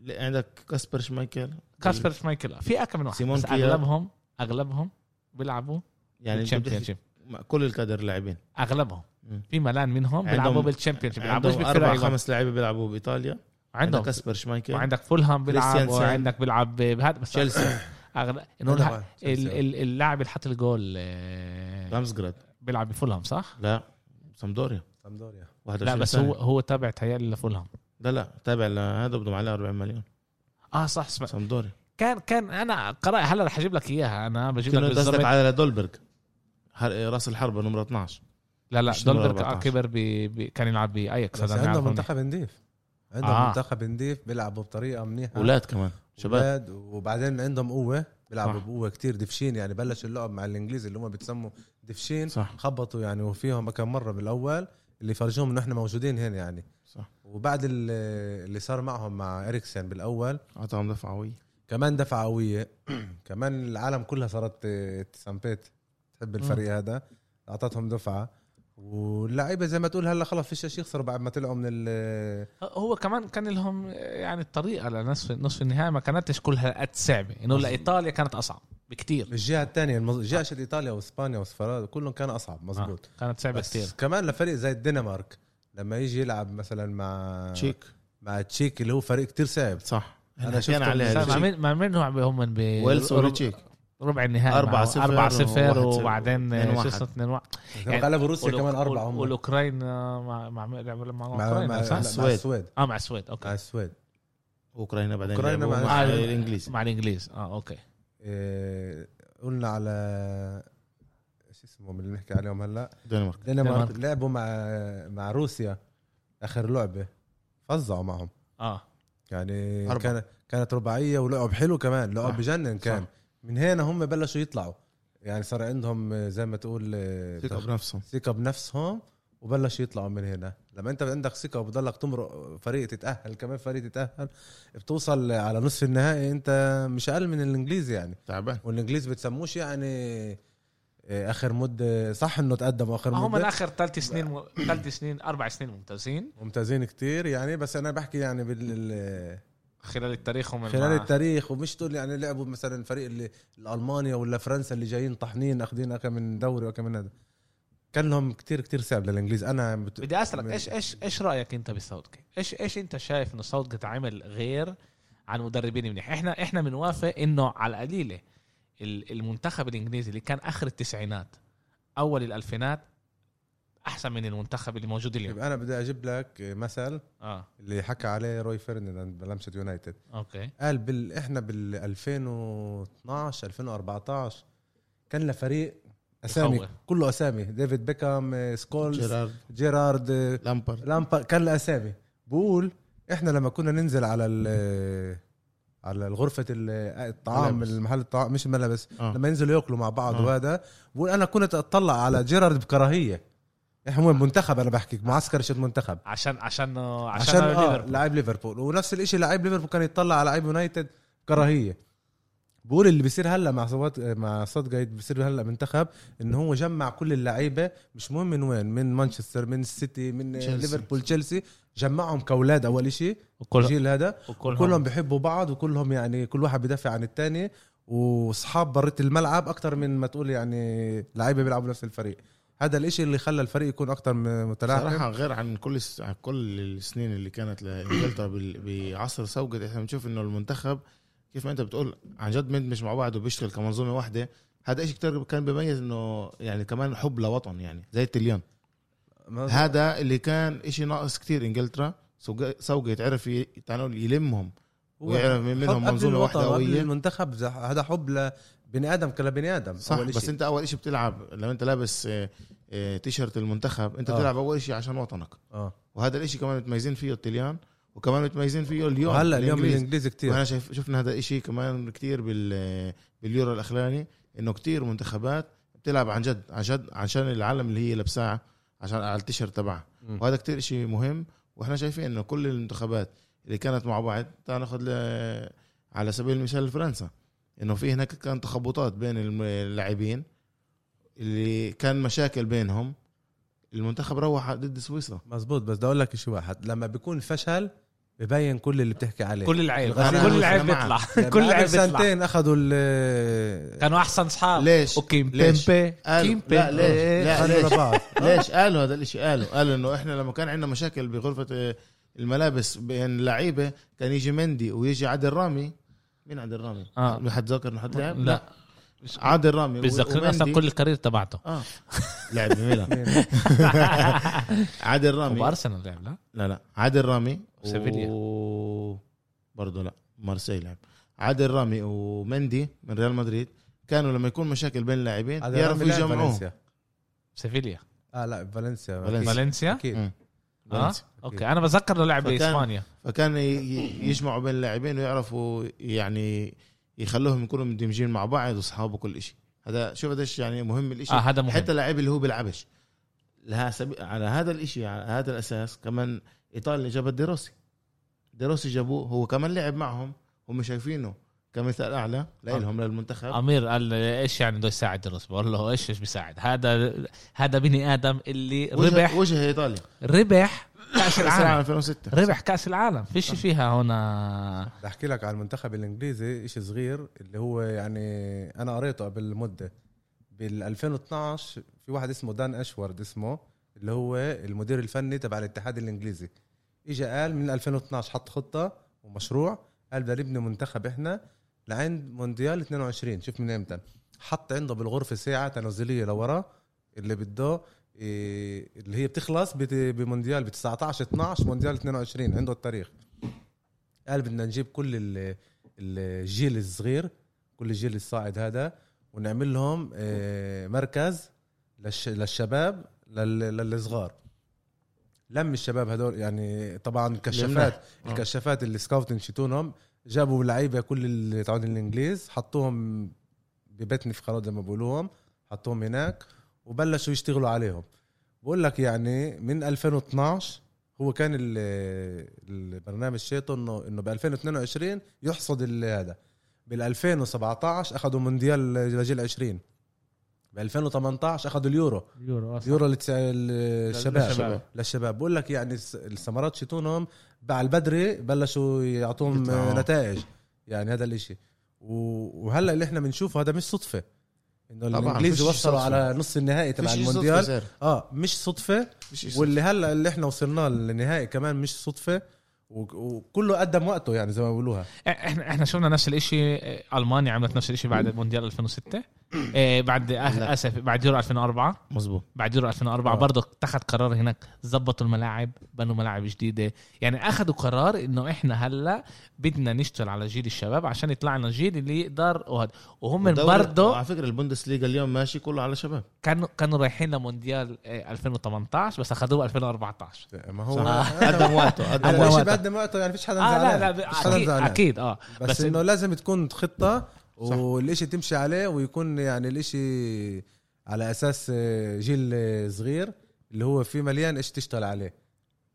S2: عندك كاسبر شمايكل
S1: كاسبر شمايكل في اكم من واحد
S2: سيمون
S1: بس
S2: كيا.
S1: اغلبهم اغلبهم بيلعبوا
S2: يعني أنت
S1: بالتشامبيون
S2: بتحكي
S1: شيب
S2: مع كل الكادر لاعبين
S1: اغلبهم
S2: مم.
S1: في ملان منهم بيلعبوا
S2: عندهم-
S1: بالتشامبيون شيب بيلعبوش
S2: عندهم اربع
S1: بالفرق
S2: خمس لعيبه بيلعبوا بايطاليا عندك
S1: عندهم
S2: كاسبر شمايكل
S1: وعندك آه. فولهام بيلعب
S2: كريستيانسن.
S1: وعندك بيلعب بهذا بس
S2: تشيلسي إيه،
S1: أغلب إنه
S3: هذا
S1: الح-
S3: واحد.
S1: ال- ال- اللاعب اللي حط الجول آه،
S2: رامزجراد
S1: بيلعب بفولهام صح؟
S2: لا سامدوريا
S3: سامدوريا
S2: 21
S1: لا بس
S2: سنة.
S1: هو هو تابع تهيألي لفولهام
S2: لا لا تابع لهذا بدهم عليه 40 مليون
S1: اه صح اسمع
S2: سامدوريا
S1: كان كان انا قرأ هلا رح اجيب لك اياها انا بجيب لك
S2: كنا قصدك
S1: بالضبط
S2: على دولبرج حر- راس الحربة نمرة 12
S3: آه.
S1: لا لا
S2: مش نمرة
S1: دولبرك
S2: 14.
S1: آه، كبر ب... ب... كان يلعب باياكس
S3: بس
S1: هذا
S3: عندهم
S1: بيعرفوني.
S3: منتخب نضيف عندهم
S1: آه.
S3: آه. منتخب نضيف بيلعبوا بطريقه منيحه
S2: اولاد كمان شباب
S3: أولاد، وبعدين عندهم قوه بيلعبوا
S1: صح.
S3: بقوه كتير دفشين يعني بلش اللعب مع الانجليز اللي هم بتسموا دفشين
S2: صح
S3: خبطوا يعني وفيهم كم مره بالاول اللي فرجوهم انه احنا موجودين هنا يعني
S2: صح
S3: وبعد ال- اللي صار معهم مع اريكسن بالاول
S2: اعطاهم دفعه قويه
S3: كمان دفعه قويه كمان العالم كلها صارت ت- تسمبيت تحب الفريق هذا اعطتهم دفعه واللعيبه زي ما تقول هلا خلص فيش شيء يخسروا بعد ما طلعوا من ال
S1: هو كمان كان لهم آه، يعني الطريقه لنصف نصف النهائي ما كانتش كلها قد صعبه انه لايطاليا كانت اصعب بكتير
S3: الجهه الثانيه الجيش الايطاليا واسبانيا وسفراد كلهم كان اصعب مزبوط
S1: آه. كانت صعبه كتير
S3: بس كمان لفريق زي الدنمارك لما يجي يلعب مثلا مع
S2: تشيك
S3: مع تشيك اللي هو فريق كتير صعب
S2: صح
S3: آه. أنا
S2: انا
S3: شفتهم
S2: حكينا عليها
S1: مع
S2: تشيك.
S1: مين مع مين هم هم ب
S2: يعني ويلز وتشيك
S1: ربع النهائي
S2: أربعة
S1: معه.
S2: صفر
S1: 4
S2: وواحد
S1: 0
S2: صفر
S1: وبعدين
S2: واثنين واحد.
S1: 6 2 1
S3: يعني غلبوا روسيا كمان اربعه هم مع
S1: والاوكران آه، مع مع لعبوا مع
S3: مع, مع
S1: اوكرانيا صح؟
S2: السويد.
S3: السويد
S1: اه مع السويد
S3: مع
S1: اوكي
S3: السويد
S2: اوكرانيا بعدين
S3: أوكرانيا
S2: لعبوا
S3: بعدين.
S2: مع
S1: آه.
S2: الانجليز
S1: مع الانجليز اه اوكي
S3: إيه، قلنا على شو اسمهم اللي بنحكي عليهم هلا
S2: الدنمارك
S3: الدنمارك
S1: الدنمارك.
S3: لعبوا مع مع روسيا اخر لعبه فظعوا معهم
S1: اه
S3: يعني
S2: أربعة.
S3: كانت كانت رباعيه ولعب حلو كمان لعب
S2: صح.
S3: بجنن كان
S2: صح.
S3: من هنا هم بلشوا يطلعوا يعني صار عندهم آه، زي ما تقول آه،
S2: ثقة بنفسهم
S3: ثقه بنفسهم وبلشوا يطلعوا من هنا لما انت عندك ثقه وبضلك تمرق فريق تتاهل كمان فريق تتاهل بتوصل على نصف النهائي انت مش اقل من الانجليز يعني
S2: تعبان
S3: والانجليز بتسموش يعني آه، اخر مده صح انه تقدموا اخر
S1: هم من
S3: مده
S1: اخر ثلاث سنين م... ثلاث سنين اربع سنين ممتازين
S3: ممتازين كتير يعني بس انا بحكي يعني بال
S1: خلال التاريخ هم
S3: خلال
S1: مع-
S3: التاريخ ومش تقول يعني لعبوا مثلا فريق اللي الالمانيا ولا فرنسا اللي جايين طحنين اخذين اكم من دوري واكم من هذا كان لهم كتير كتير صعب للانجليز انا بت...
S1: بدي اسالك
S3: من-
S1: ايش ايش ايش رايك انت بالساوث جيت؟ ايش ايش انت شايف انه ساوث جيت عمل غير عن مدربين منيح؟ احنا احنا بنوافق انه على القليله ال- المنتخب الانجليزي اللي كان اخر التسعينات اول الالفينات احسن من المنتخب اللي موجود اليوم
S3: يبقى انا بدي اجيب لك مثل
S1: اه
S3: اللي حكى عليه روي فيرناند بلمسه يونايتد
S1: اوكي
S3: قال بال... احنا بال 2012 2014 كان لفريق اسامي
S1: بخوف.
S3: كله اسامي ديفيد بيكام آه، سكولز
S2: جيرارد
S3: جيرارد آه،
S2: لامبرد
S3: لامبر كان له اسامي بقول احنا لما كنا ننزل على ال على غرفة ال- الطعام
S2: ملابس.
S3: المحل الطعام مش الملابس
S2: آه.
S3: لما ينزلوا ياكلوا مع بعض
S2: آه.
S3: وهذا بقول انا كنت اطلع على جيرارد بكراهية احنا مو منتخب انا بحكي معسكر شد منتخب
S1: عشان عشان عشان,
S3: عشان
S1: عشان
S3: آه
S1: ليفربول.
S3: لعيب ليفربول ونفس الشيء لعيب ليفربول كان يطلع على لعيب يونايتد كراهيه بقول اللي بيصير هلا مع صوت مع صوت جايد بيصير هلا منتخب ان هو جمع كل اللعيبه مش مهم من وين من مانشستر من السيتي من
S2: تشيلسي.
S3: ليفربول تشيلسي جمعهم كاولاد اول شيء
S1: وكل
S3: الجيل هذا
S1: وكلهم
S3: كلهم بيحبوا بعض وكلهم يعني كل واحد بيدافع عن الثاني واصحاب برة الملعب اكثر من ما تقول يعني لعيبه بيلعبوا نفس الفريق هذا الاشي اللي خلى الفريق يكون اكثر متلاعب
S2: صراحة غير عن كل الس- عن كل السنين اللي كانت لانجلترا بال- بعصر سوقت احنا بنشوف انه المنتخب كيف ما انت بتقول عن جد مندمج مع بعض وبيشتغل كمنظومه واحده هذا شيء كتير كان بيميز انه يعني كمان حب لوطن يعني زي التليون
S3: ما-
S2: هذا اللي كان إشي ناقص كتير انجلترا سوق- سوقت عرف ي- تعالوا يلمهم ويعرف من منهم
S3: حب قبل
S2: منظومه
S3: الوطن
S2: واحده
S3: وقبل
S2: قويه
S3: المنتخب زح- هذا حب لبني ادم كلبني ادم
S2: صح
S3: أول
S2: بس
S3: إشي.
S2: انت اول إشي بتلعب لما انت لابس آه، آه، تيشيرت المنتخب انت
S3: آه.
S2: بتلعب اول شيء عشان وطنك
S3: اه
S2: وهذا الاشي كمان متميزين فيه الطليان وكمان متميزين فيه اليوم
S3: هلا اليوم
S2: الإنجليز.
S3: الانجليزي كتير
S2: وانا شايف شفنا هذا الشيء كمان كتير بال باليورو الاخراني انه كتير منتخبات بتلعب عن جد عن جد عشان العالم اللي هي لابساه عشان على التيشيرت تبعها
S3: مم.
S2: وهذا كتير شيء مهم واحنا شايفين انه كل المنتخبات اللي كانت مع بعض تعال ناخذ ل- على سبيل المثال فرنسا انه في هناك كان تخبطات بين الم- اللاعبين اللي كان مشاكل بينهم المنتخب روح ضد سويسرا
S3: مزبوط بس بدي اقول لك شيء واحد لما بيكون فشل ببين كل اللي بتحكي عليه
S1: كل العيب
S3: الغزالة
S1: كل العيب بيطلع
S2: والسلامة.
S3: لما
S1: كل
S3: قبل
S1: العيب بيطلع
S3: سنتين اخذوا ال
S1: كانوا احسن اصحاب
S2: ليش؟
S1: اوكي
S2: ليش؟
S1: مبمبي
S2: قالوا-
S1: كيمبي
S2: لا ليش؟ لا
S3: خلوا
S2: ليش؟
S3: لبعض
S2: ليش قالوا هذا الاشي قالوا قالوا انه احنا لما كان عندنا مشاكل بغرفه آه، الملابس بين اللعيبه كان يجي مندي ويجي عادل رامي مين عادل رامي؟
S1: آه.
S2: آه. حد ذاكر إنه حد لعب؟
S1: لا
S2: عادل رامي و-
S1: بتذكرنا اصلا
S2: ومندي-
S1: كل الكارير تبعته
S2: اه لعب بميلان عادل رامي
S1: وبارسنال لعب لا
S2: لا لا عادل رامي
S1: سيفيليا.
S2: و... برضه لا مارسيل لعب عادل رامي ومندي من ريال مدريد كانوا لما يكون مشاكل بين اللاعبين
S3: هذا رامي
S2: بيعرفوا
S3: لعب
S2: يجمعوهم
S3: فالنسيا.
S1: سيفيليا
S3: اه لا فالنسيا
S2: فالنسيا.
S3: أكيد.
S1: فالنسيا
S3: اكيد
S2: مم.
S1: اه
S2: فالنسيا.
S1: اوكي انا بتذكر انه لعب
S2: فكان-
S1: باسبانيا
S2: فكان ي- ي- يجمعوا بين اللاعبين ويعرفوا يعني يخلوهم يكونوا مندمجين مع بعض واصحابه كل شيء هذا شوف قديش يعني مهم الاشي
S1: اه هذا مهم
S2: حتى اللاعب اللي هو بيلعبش لها سبي... على هذا الاشي على هذا الاساس كمان ايطاليا جابت ديروسي ديروسي جابوه هو كمان لعب معهم هم شايفينه كمثال اعلى لهم للمنتخب
S1: امير قال ايش يعني بده يساعد الروس بقول له ايش ايش بيساعد هذا هذا بني ادم اللي
S2: وجه,
S1: ربح
S2: وجه ايطاليا
S1: ربح كاس
S2: كاس العالم
S1: العالم
S2: 2006
S1: ربح كاس العالم فيش فيها هنا
S3: بدي احكي لك على المنتخب الانجليزي شيء صغير اللي هو يعني انا قريته قبل مده بال 2012 في واحد اسمه دان اشورد اسمه اللي هو المدير الفني تبع الاتحاد الانجليزي اجى قال من 2012 حط خطه ومشروع قال بدنا نبني منتخب احنا لعند مونديال 22 شوف من امتى حط عنده بالغرفه ساعه تنازليه لورا اللي بده إيه، اللي هي بتخلص بت- بمونديال ب 19 12 مونديال 22 عنده التاريخ قال بدنا نجيب كل ال- الجيل الصغير كل الجيل الصاعد هذا ونعمل لهم آه، مركز للش- للشباب لل- للصغار لم الشباب هدول يعني طبعا كشافات
S2: آه.
S3: الكشافات اللي سكاوتنج شتونهم جابوا لعيبه كل اللي تعود الانجليز حطوهم ببيت نفخرات زي ما بقولوهم حطوهم هناك وبلشوا يشتغلوا عليهم بقول لك يعني من 2012 هو كان ال- البرنامج شيطه انه انه ب 2022 يحصد ال- هذا بال 2017 اخذوا مونديال لجيل 20 ب 2018 اخذوا اليورو
S1: يورو
S3: يورو للتس- للشباب
S2: للشباب.
S3: للشباب بقول لك يعني الس- الثمرات شتونهم بعد البدري بلشوا يعطوهم
S2: يطلعوا.
S3: نتائج يعني هذا الاشي و- وهلا اللي احنا بنشوفه هذا مش صدفه انه
S2: طبعاً، فيش
S3: الانجليزي
S2: شي
S3: وصلوا
S2: صدفة.
S3: على نص النهائي تبع
S2: فيش شي صدفة
S3: المونديال
S2: صار.
S3: اه مش صدفه
S2: فيش شي صدفة.
S3: واللي هلا اللي احنا وصلنا للنهائي كمان مش صدفه و- وكله قدم وقته يعني زي ما بيقولوها
S1: احنا احنا شفنا نفس الشيء المانيا عملت نفس الشيء بعد مونديال 2006 إيه، بعد آه،
S2: لا.
S1: اسف بعد يورو 2004
S2: مزبوط
S1: بعد يورو 2004
S3: آه.
S1: برضه اتخذ قرار هناك ظبطوا الملاعب بنوا ملاعب جديده يعني اخذوا قرار انه احنا هلا بدنا نشتغل على جيل الشباب عشان يطلع لنا جيل اللي يقدر وهد وهم
S2: والدوري-
S1: برضه
S3: آه.
S2: على فكره البوندسليغا اليوم ماشي كله على شباب
S1: كانوا كانوا رايحين لمونديال آه، 2018 بس اخذوه 2014
S3: ما هو
S2: قدم وقته قدم
S3: هذا
S2: وقته آه،
S3: الشيء بقدم وقته يعني فيش حدا
S1: اه
S3: زعلان
S1: لا لا ب-
S3: فيش حدا
S1: اكيد,
S3: زعلان
S1: أكيد اه
S3: بس,
S1: بس
S3: انه لازم تكون خطه
S2: صح.
S3: والشيء تمشي عليه ويكون يعني الشيء على اساس آه، جيل آه، صغير اللي هو فيه مليان ايش تشتغل عليه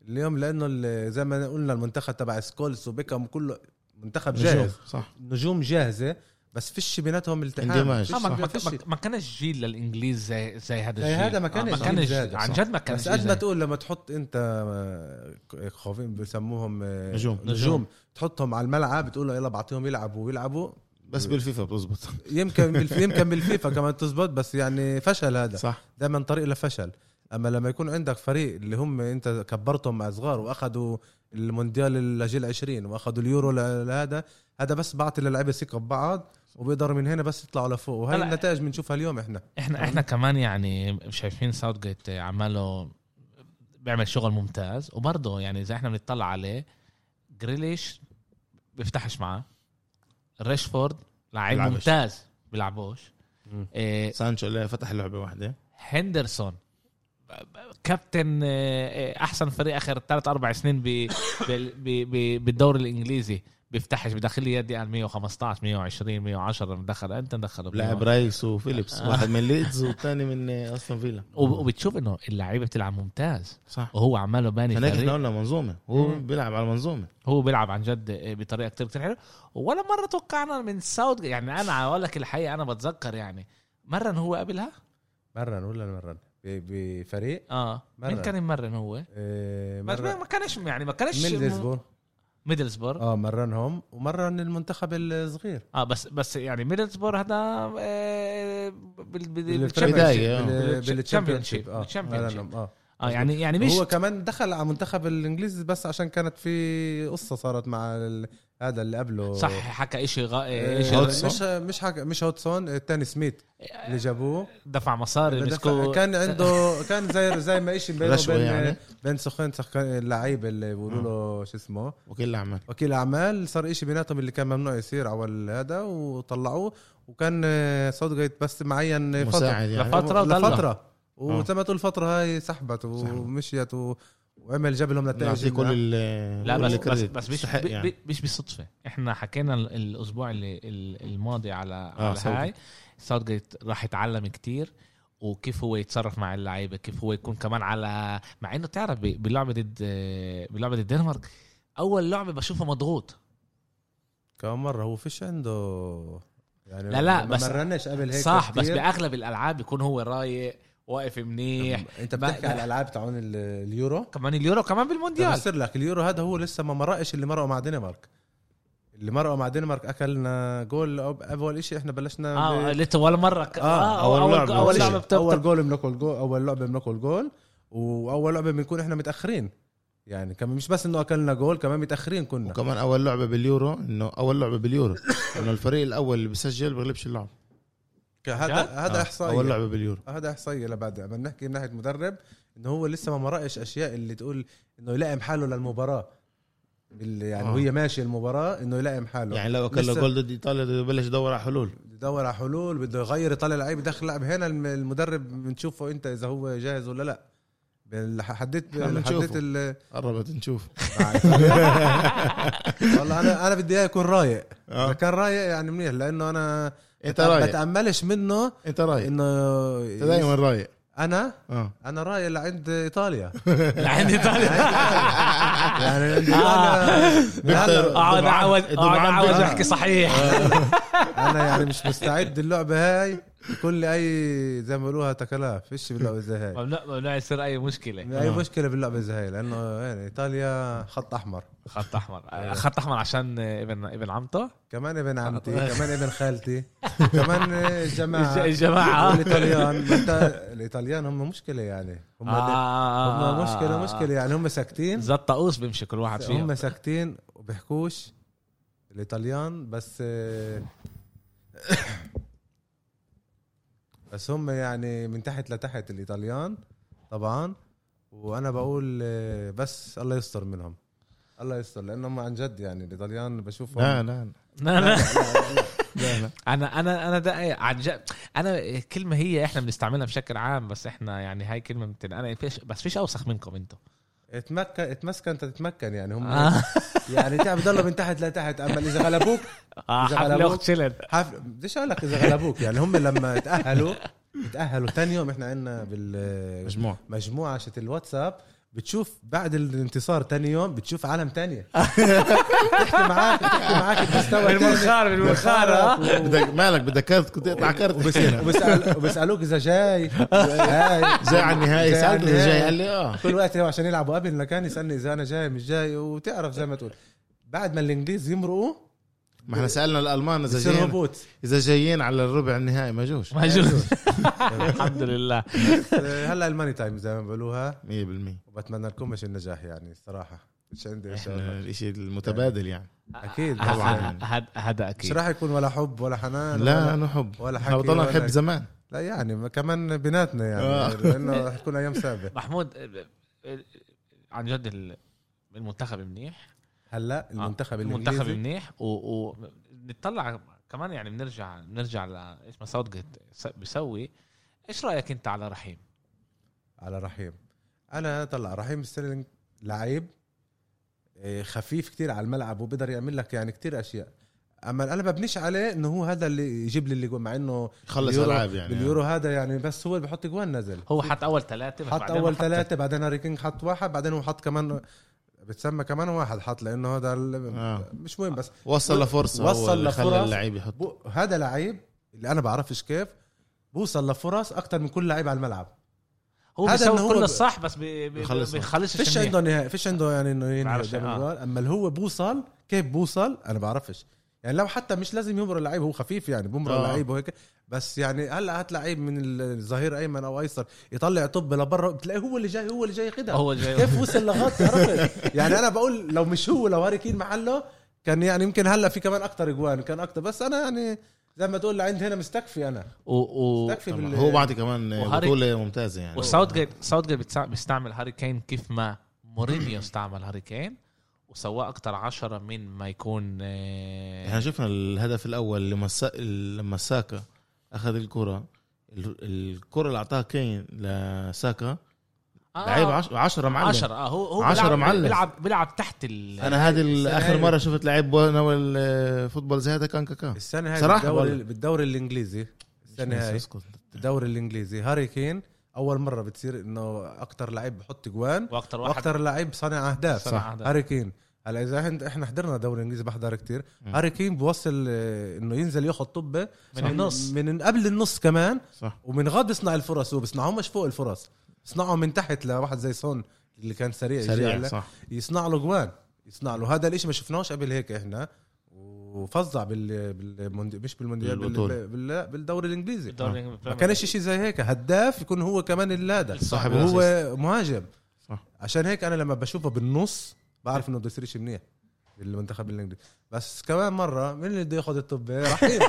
S3: اليوم لانه ال- زي ما قلنا المنتخب تبع سكولز وبيكم كله منتخب جاهز
S2: صح
S3: نجوم جاهزه بس فيش بيناتهم التحام
S2: اندماج.
S3: فيش-
S1: آه، ما- ما-
S3: فيش
S1: ما- ما كانش جيل للانجليز زي زي هذا
S3: زي
S1: الجيل
S3: هذا ما
S1: آه،
S3: كانش
S1: ما
S3: جيل
S1: كانش
S3: زي هذا،
S1: عن
S3: صح.
S1: جد ما كانش
S3: بس
S1: جيل
S3: قد ما
S1: زي-
S3: تقول لما تحط انت آه، خوفين بسموهم آه،
S2: نجوم.
S3: نجوم تحطهم على الملعب بتقول له يلا بعطيهم يلعبوا ويلعبوا
S2: بس بالفيفا بتزبط
S3: يمكن بالف... يمكن بالفيفا كمان تزبط بس يعني فشل هذا
S2: صح
S3: دائما طريق لفشل اما لما يكون عندك فريق اللي هم انت كبرتهم مع صغار واخذوا المونديال لجيل 20 واخذوا اليورو ل- لهذا هذا بس بعطي للعيبه ثقه ببعض وبيقدروا من هنا بس يطلعوا لفوق وهي
S1: هلا-
S3: النتائج بنشوفها اليوم احنا
S1: احنا احنا كمان يعني شايفين ساوث جيت عماله بيعمل شغل ممتاز وبرضه يعني زي احنا بنطلع عليه جريليش بيفتحش معاه ريشفورد لعيب
S2: بيلعبش.
S1: ممتاز بيلعبوش إيه
S2: سانشو اللي فتح لعبه واحده
S1: هندرسون كابتن آه، آه، احسن فريق اخر ثلاث اربع سنين ب- بال- ب- ب- بالدوري الانجليزي بيفتحش بدخل لي يدي قال 115 120 110 مدخل انت مدخل
S2: لاعب رايس وفيليبس واحد من ليدز والثاني من استون فيلا
S1: آه. وب- وبتشوف انه اللعيبه بتلعب ممتاز
S2: صح
S1: وهو عماله باني
S2: هناك
S1: فريق.
S2: احنا قلنا منظومه هو
S1: مم.
S2: بيلعب على منظومه
S1: هو بيلعب عن جد بطريقه كتير كتير حلوه ولا مره توقعنا من ساوث يعني انا اقول لك الحقيقه انا بتذكر يعني مرن هو قبلها
S3: مرن ولا مرن ب- بفريق
S1: اه مين
S3: مرن.
S1: كان يمرن هو
S3: آه،
S1: بس ما
S3: مرن
S1: ما كانش يعني ما كانش
S3: ميدلزبورغ
S1: ميدلسبور
S3: اه مرنهم ومرن المنتخب الصغير
S1: اه بس بس يعني ميدلسبور هذا آه، بال- بال- بالشامبيونشيب.
S2: بداية، آه.
S3: بال-
S1: بالشامبيونشيب.
S3: بالشامبيونشيب. آه،
S1: بالشامبيونشيب.
S3: مرنهم، اه
S1: اه يعني يعني مش
S3: هو كمان دخل على منتخب الانجليزي بس عشان كانت في قصه صارت مع ال- هذا اللي قبله
S1: صح حكى شيء غ...
S3: آه،
S1: شيء
S2: هودسون.
S3: مش مش حك... مش هودسون الثاني سميث اللي جابوه
S1: دفع مصاري
S3: دفع-
S1: آه، مسكوه
S3: كان عنده كان زي زي ما شيء بينه
S2: رشوة
S3: وبين
S2: يعني؟
S3: بين سخان سخان اللعيب اللي بيقولوا له شو اسمه
S2: وكل اعمال
S3: وكيل اعمال صار إشي بيناتهم اللي كان ممنوع يصير على هذا وطلعوه وكان آه، سودجيت بس معين آه، فترة
S2: مساعد يعني
S1: لفت- فترة وضلها.
S3: لفتره وزي ما تقول الفتره هاي سحبت ومشيت و- وعمل جاب لهم
S2: نعطيه
S3: نتائج
S2: كل
S3: إنها-
S2: ال
S1: لا
S2: كل
S1: بس بس,
S2: الكريدت.
S1: بس مش
S2: يستحق
S1: ب-
S2: يعني.
S1: ب- مش بالصدفه احنا حكينا ال- الاسبوع اللي ال- الماضي على
S2: آه،
S1: على هاي ساوث جيت راح يتعلم كتير وكيف هو يتصرف مع اللعيبه كيف هو يكون كمان على مع انه تعرف ب- باللعبه ضد باللعبه ضد الدنمارك اول لعبه بشوفها مضغوط
S3: كم مره هو فيش عنده يعني
S1: لا، لا،
S3: ما
S1: بس-
S3: مرناش قبل هيك
S1: صح بس
S3: كتير.
S1: باغلب الالعاب بيكون هو رايق واقف منيح
S3: انت
S1: ما-
S3: بتحكي
S1: ما-
S3: على الالعاب تاعون ال- اليورو
S1: كمان اليورو كمان بالمونديال
S3: بفسر لك اليورو هذا هو لسه ما مرقش اللي مرقوا مع دنمارك اللي مرقوا مع دنمارك اكلنا جول أب- اول شيء احنا بلشنا
S1: اه
S3: ب-
S1: لسه ولا مره ك-
S3: آه،
S2: أول
S1: اول
S2: لعبة.
S1: اول
S2: أول
S1: لعبه
S2: شيء.
S1: بتبطل.
S3: اول جول بناكل جول اول لعبه بناكل جول واول لعبه بنكون احنا متاخرين يعني كمان مش بس انه اكلنا جول كمان متاخرين كنا
S2: وكمان اول لعبه باليورو انه اول لعبه باليورو انه الفريق الاول اللي بيسجل بغلبش اللعب
S3: ك- هذا
S1: جد؟
S3: هذا
S2: آه، اول
S3: احصائي
S2: لعبه باليورو
S3: هذا احصائي لبعد عم نحكي من ناحيه مدرب انه هو لسه ما مرقش اشياء اللي تقول انه يلائم حاله للمباراه اللي يعني
S2: آه.
S3: وهي ماشيه المباراه انه يلائم حاله
S2: يعني لو اكل
S3: لسه-
S2: جول ضد ايطاليا بده يبلش يدور على حلول
S3: يدور على حلول بده يغير يطلع لعيب يدخل لاعب هنا الم- المدرب بنشوفه انت اذا هو جاهز ولا لا بال- حددت
S2: احنا بنشوفه.
S3: حددت ال-
S2: قربت نشوف
S1: آه.
S3: والله انا انا بدي اياه يكون رايق
S2: آه.
S3: اذا كان رايق يعني منيح لانه انا
S2: انت
S3: ما
S2: رايق
S3: بتاملش منه
S2: انت رايق
S3: انه
S2: انت دائما رايق
S3: انا
S2: اه
S3: انا رايق لعند ايطاليا
S1: لعند ايطاليا
S3: يعني
S1: يعني آه.
S3: انا
S1: اقعد
S2: دمعان-
S1: اعوز
S3: آه،
S1: اقعد
S2: دمعان
S1: اعوز
S3: بيطلع.
S1: احكي صحيح
S3: انا يعني مش مستعد اللعبه هاي يكون لي اي زي ما بيقولوها تكلها فيش باللعبه زي هاي يعني
S1: ممنوع ممنوع يصير اي مشكله
S3: اي
S2: آه.
S3: مشكله باللعبه زي هاي لانه يعني ايطاليا خط احمر
S1: خط
S3: آه.
S1: احمر خط احمر عشان ابن ابن عمته
S3: كمان ابن عمتي كمان ابن خالتي كمان
S1: الج-
S3: الجماعه
S1: الجماعه
S3: الايطاليان انت الايطاليان هم مشكله يعني
S1: آه،
S3: هم
S2: آه.
S3: هم مشكله مشكله يعني هم ساكتين
S1: زاد طقوس آه. بيمشي كل واحد فيهم
S3: هم ساكتين وبيحكوش الايطاليان بس آه، بس هم يعني من تحت لتحت الايطاليان طبعا وانا بقول آه، بس الله يستر منهم الله يستر لانهم عن جد يعني الايطاليان بشوفهم
S2: لا لا
S1: لا لا
S2: لا لا
S1: انا انا انا ده إيه، عن جد انا كلمه هي احنا بنستعملها بشكل عام بس احنا يعني هاي كلمه بتن... انا فيش بس فيش اوسخ منكم انتوا
S3: اتمكن اتمسكن انت تتمكن يعني هم
S1: آه.
S3: يعني تعب ضلوا من تحت لتحت اما اذا غلبوك
S1: اه
S3: إذا
S1: حفله
S3: غلبوك.
S1: اخت شلن
S3: حفل بديش اقول لك اذا غلبوك يعني هم لما تاهلوا تاهلوا ثاني يوم احنا عندنا بالمجموعه
S2: مجموع
S3: شت الواتساب بتشوف بعد الانتصار ثاني يوم بتشوف عالم تانية بتحكي معاك بتحكي معاك بمستوى تاني
S1: بالمنخار بالمنخار آه.
S2: بدك مالك بدك كارت كنت تقطع كارت بس هنا
S3: وبسأل وبسالوك اذا جاي هاي
S2: جاي على النهائي
S3: جاي على
S2: سالته اذا
S3: النهائي.
S2: جاي قال لي اه
S3: كل وقت هو عشان يلعبوا قبل كان يسالني اذا انا جاي مش جاي وتعرف زي ما تقول بعد ما الانجليز يمرقوا
S2: ما احنا سالنا الالمان اذا
S3: بصير
S2: جايين
S3: هبوط
S2: اذا جايين على الربع النهائي ما جوش 100%
S1: ما جوز. الحمد لله
S3: آه، هلا الماني تايم زي ما بيقولوها وبتمنى لكمش النجاح يعني الصراحه مش عندي إيش أقول
S2: احنا
S3: لك.
S2: الشيء المتبادل يعني
S3: اكيد طبعا
S1: طبعا هذا
S3: مش
S1: اكيد
S3: راح يكون ولا حب ولا حنان
S2: لا
S3: ولا,
S2: نحب
S3: ولا
S2: احنا
S3: حكي
S2: بضلنا
S3: ولا-
S2: نحب زمان
S3: لا يعني ما- كمان بيناتنا
S2: آه.
S3: يعني لانه رح تكون ايام سابقه
S1: محمود آه، آه، عن جد ال- المنتخب منيح
S3: هلا المنتخب
S1: آه،
S3: الانجليزي
S1: المنتخب منيح ونطلع كمان يعني بنرجع بنرجع ل ايش ما ساوث جيت بيسوي ايش رايك انت على رحيم
S3: على رحيم انا طلع رحيم ستيرلينج لعيب آه، خفيف كتير على الملعب وبيقدر يعمل لك يعني كتير اشياء اما انا ببنيش عليه انه هو هذا اللي يجيب لي اللي جوا، مع انه
S2: خلص
S3: اليورو-
S2: العاب يعني
S3: باليورو هذا يعني بس هو اللي بحط جوان نزل
S1: هو حط اول ثلاثه بس
S3: حط
S1: بعدين
S3: اول
S1: ما حط-
S3: ثلاثه بعدين هاري كينج حط واحد بعدين هو حط كمان بتسمى كمان واحد حط لانه هذا ال-
S2: آه.
S3: مش مهم بس
S2: وصل لفرصه
S3: وصل
S2: وصل اللي
S3: لفرص.
S2: خلى اللعيب يحط
S3: بو- هذا لعيب اللي انا بعرفش كيف بوصل لفرص اكثر من كل لعيب على الملعب
S1: هو
S3: هذا
S1: بيسوي
S3: إنه هو
S1: كل
S3: ب-
S1: الصح بس بي- بي-
S2: بيخلص.
S1: بيخلصش
S3: فيش
S1: الشنيع.
S3: عنده نهاية فيش عنده يعني انه ينهي
S1: بعرفش،
S3: قدام
S1: آه.
S3: الجوال اما اللي هو بوصل كيف بوصل انا بعرفش يعني لو حتى مش لازم يمر اللعيب هو خفيف يعني بمر
S2: آه.
S3: اللعيب وهيك بس يعني هلا هات لعيب من الظهير ايمن او ايسر يطلع طب لبرا بتلاقي هو اللي جاي هو اللي جاي ياخذها
S1: هو جاي
S3: كيف وصل لغاية عرفت يعني انا بقول لو مش هو لو هاري كين محله كان يعني يمكن هلا في كمان اكتر اجوان كان اكتر بس انا يعني زي ما تقول لعند هنا مستكفي انا
S1: و... و...
S3: مستكفي
S2: طبعاً.
S3: بال
S2: هو بعد كمان
S1: وهاري-
S2: بطوله ممتازه يعني
S1: وساوث جيت ساوث جيت بتسع- بيستعمل هاري كين كيف ما مورينيو استعمل هاري كين وسواه اكثر عشرة من ما يكون
S2: احنا
S1: آه،
S2: شفنا الهدف الاول لما سا... لما ساكا اخذ الكره ال- الكره اللي اعطاها كين لساكا
S1: آه،
S2: لعيب 10 10 معلم
S1: 10 اه هو هو
S2: عشرة
S1: بيلعب
S2: معلم.
S1: بيلعب بيلعب تحت ال
S2: انا هذه ال-
S3: السنة
S2: اخر
S3: هاي.
S2: مره شفت لعيب ناول آه، فوتبول زي هذا كان كاكا
S3: السنه هاي
S2: صراحة
S3: بالدوري
S2: والله.
S3: بالدوري الانجليزي السنه هاي
S2: اسكت.
S3: الدوري الانجليزي هاري كين اول مره بتصير انه اكثر لعيب بحط جوان
S1: واكثر واحد
S3: واكثر لعيب صنع اهداف
S1: صنع أهداف.
S3: هاري كين هلا اذا احنا احنا حضرنا دوري انجليزي بحضر كتير
S2: مم.
S3: هاري كين بوصل آه، انه ينزل ياخذ طبه
S1: من النص
S3: من قبل النص كمان
S2: صح
S3: ومن غاد بيصنع الفرص هو بيصنعهم مش فوق الفرص بيصنعهم من تحت لواحد زي سون اللي كان سريع يجي
S2: سريع
S3: على-
S2: صح
S3: يصنع له جوان يصنع له هذا الاشي ما شفناهوش قبل هيك احنا وفظع بال بالموندي... مش بالمونديال بال...
S2: بالبطولة.
S3: بال... بالدوري الانجليزي
S2: آه.
S1: بالدوري
S3: ما
S1: الإنجليزي.
S3: كانش شيء زي هيك هداف يكون هو كمان اللادا
S2: صاحب
S3: وهو مهاجم
S2: صح.
S3: عشان هيك انا لما بشوفه بالنص بعرف انه بده يصير شيء منيح بالمنتخب الانجليزي بس كمان مره مين اللي بده ياخذ الطبه رحيم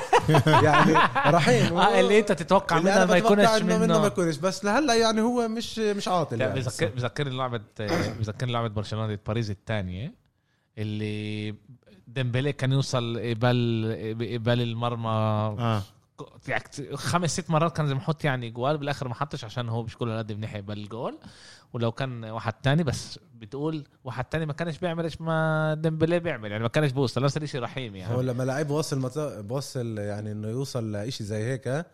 S3: يعني رحيم
S1: اه اللي انت تتوقع
S3: اللي
S1: منها
S3: أنا
S1: ما
S3: بتوقع
S1: يكونش
S3: إنه منه ما
S1: منه
S3: يكونش بس لهلا يعني هو مش مش عاطل
S1: لا
S3: يعني.
S1: بذكر بذكرني لعبة آه، بذكرني لعبة برشلونة ضد باريس الثانية اللي ديمبلي كان يوصل قبال قبال المرمى
S2: اه
S1: يعني كت- خمس ست مرات كان لازم يحط يعني جوال بالاخر ما حطش عشان هو مش كله قد منيح يقبل الجول ولو كان واحد تاني بس بتقول واحد تاني ما كانش بيعمل ايش ما ديمبلي بيعمل يعني ما كانش بوصل نفس الشيء رحيم
S3: هو
S1: يعني
S3: لما لعيب بوصل مت... بوصل يعني انه يوصل لشيء زي هيك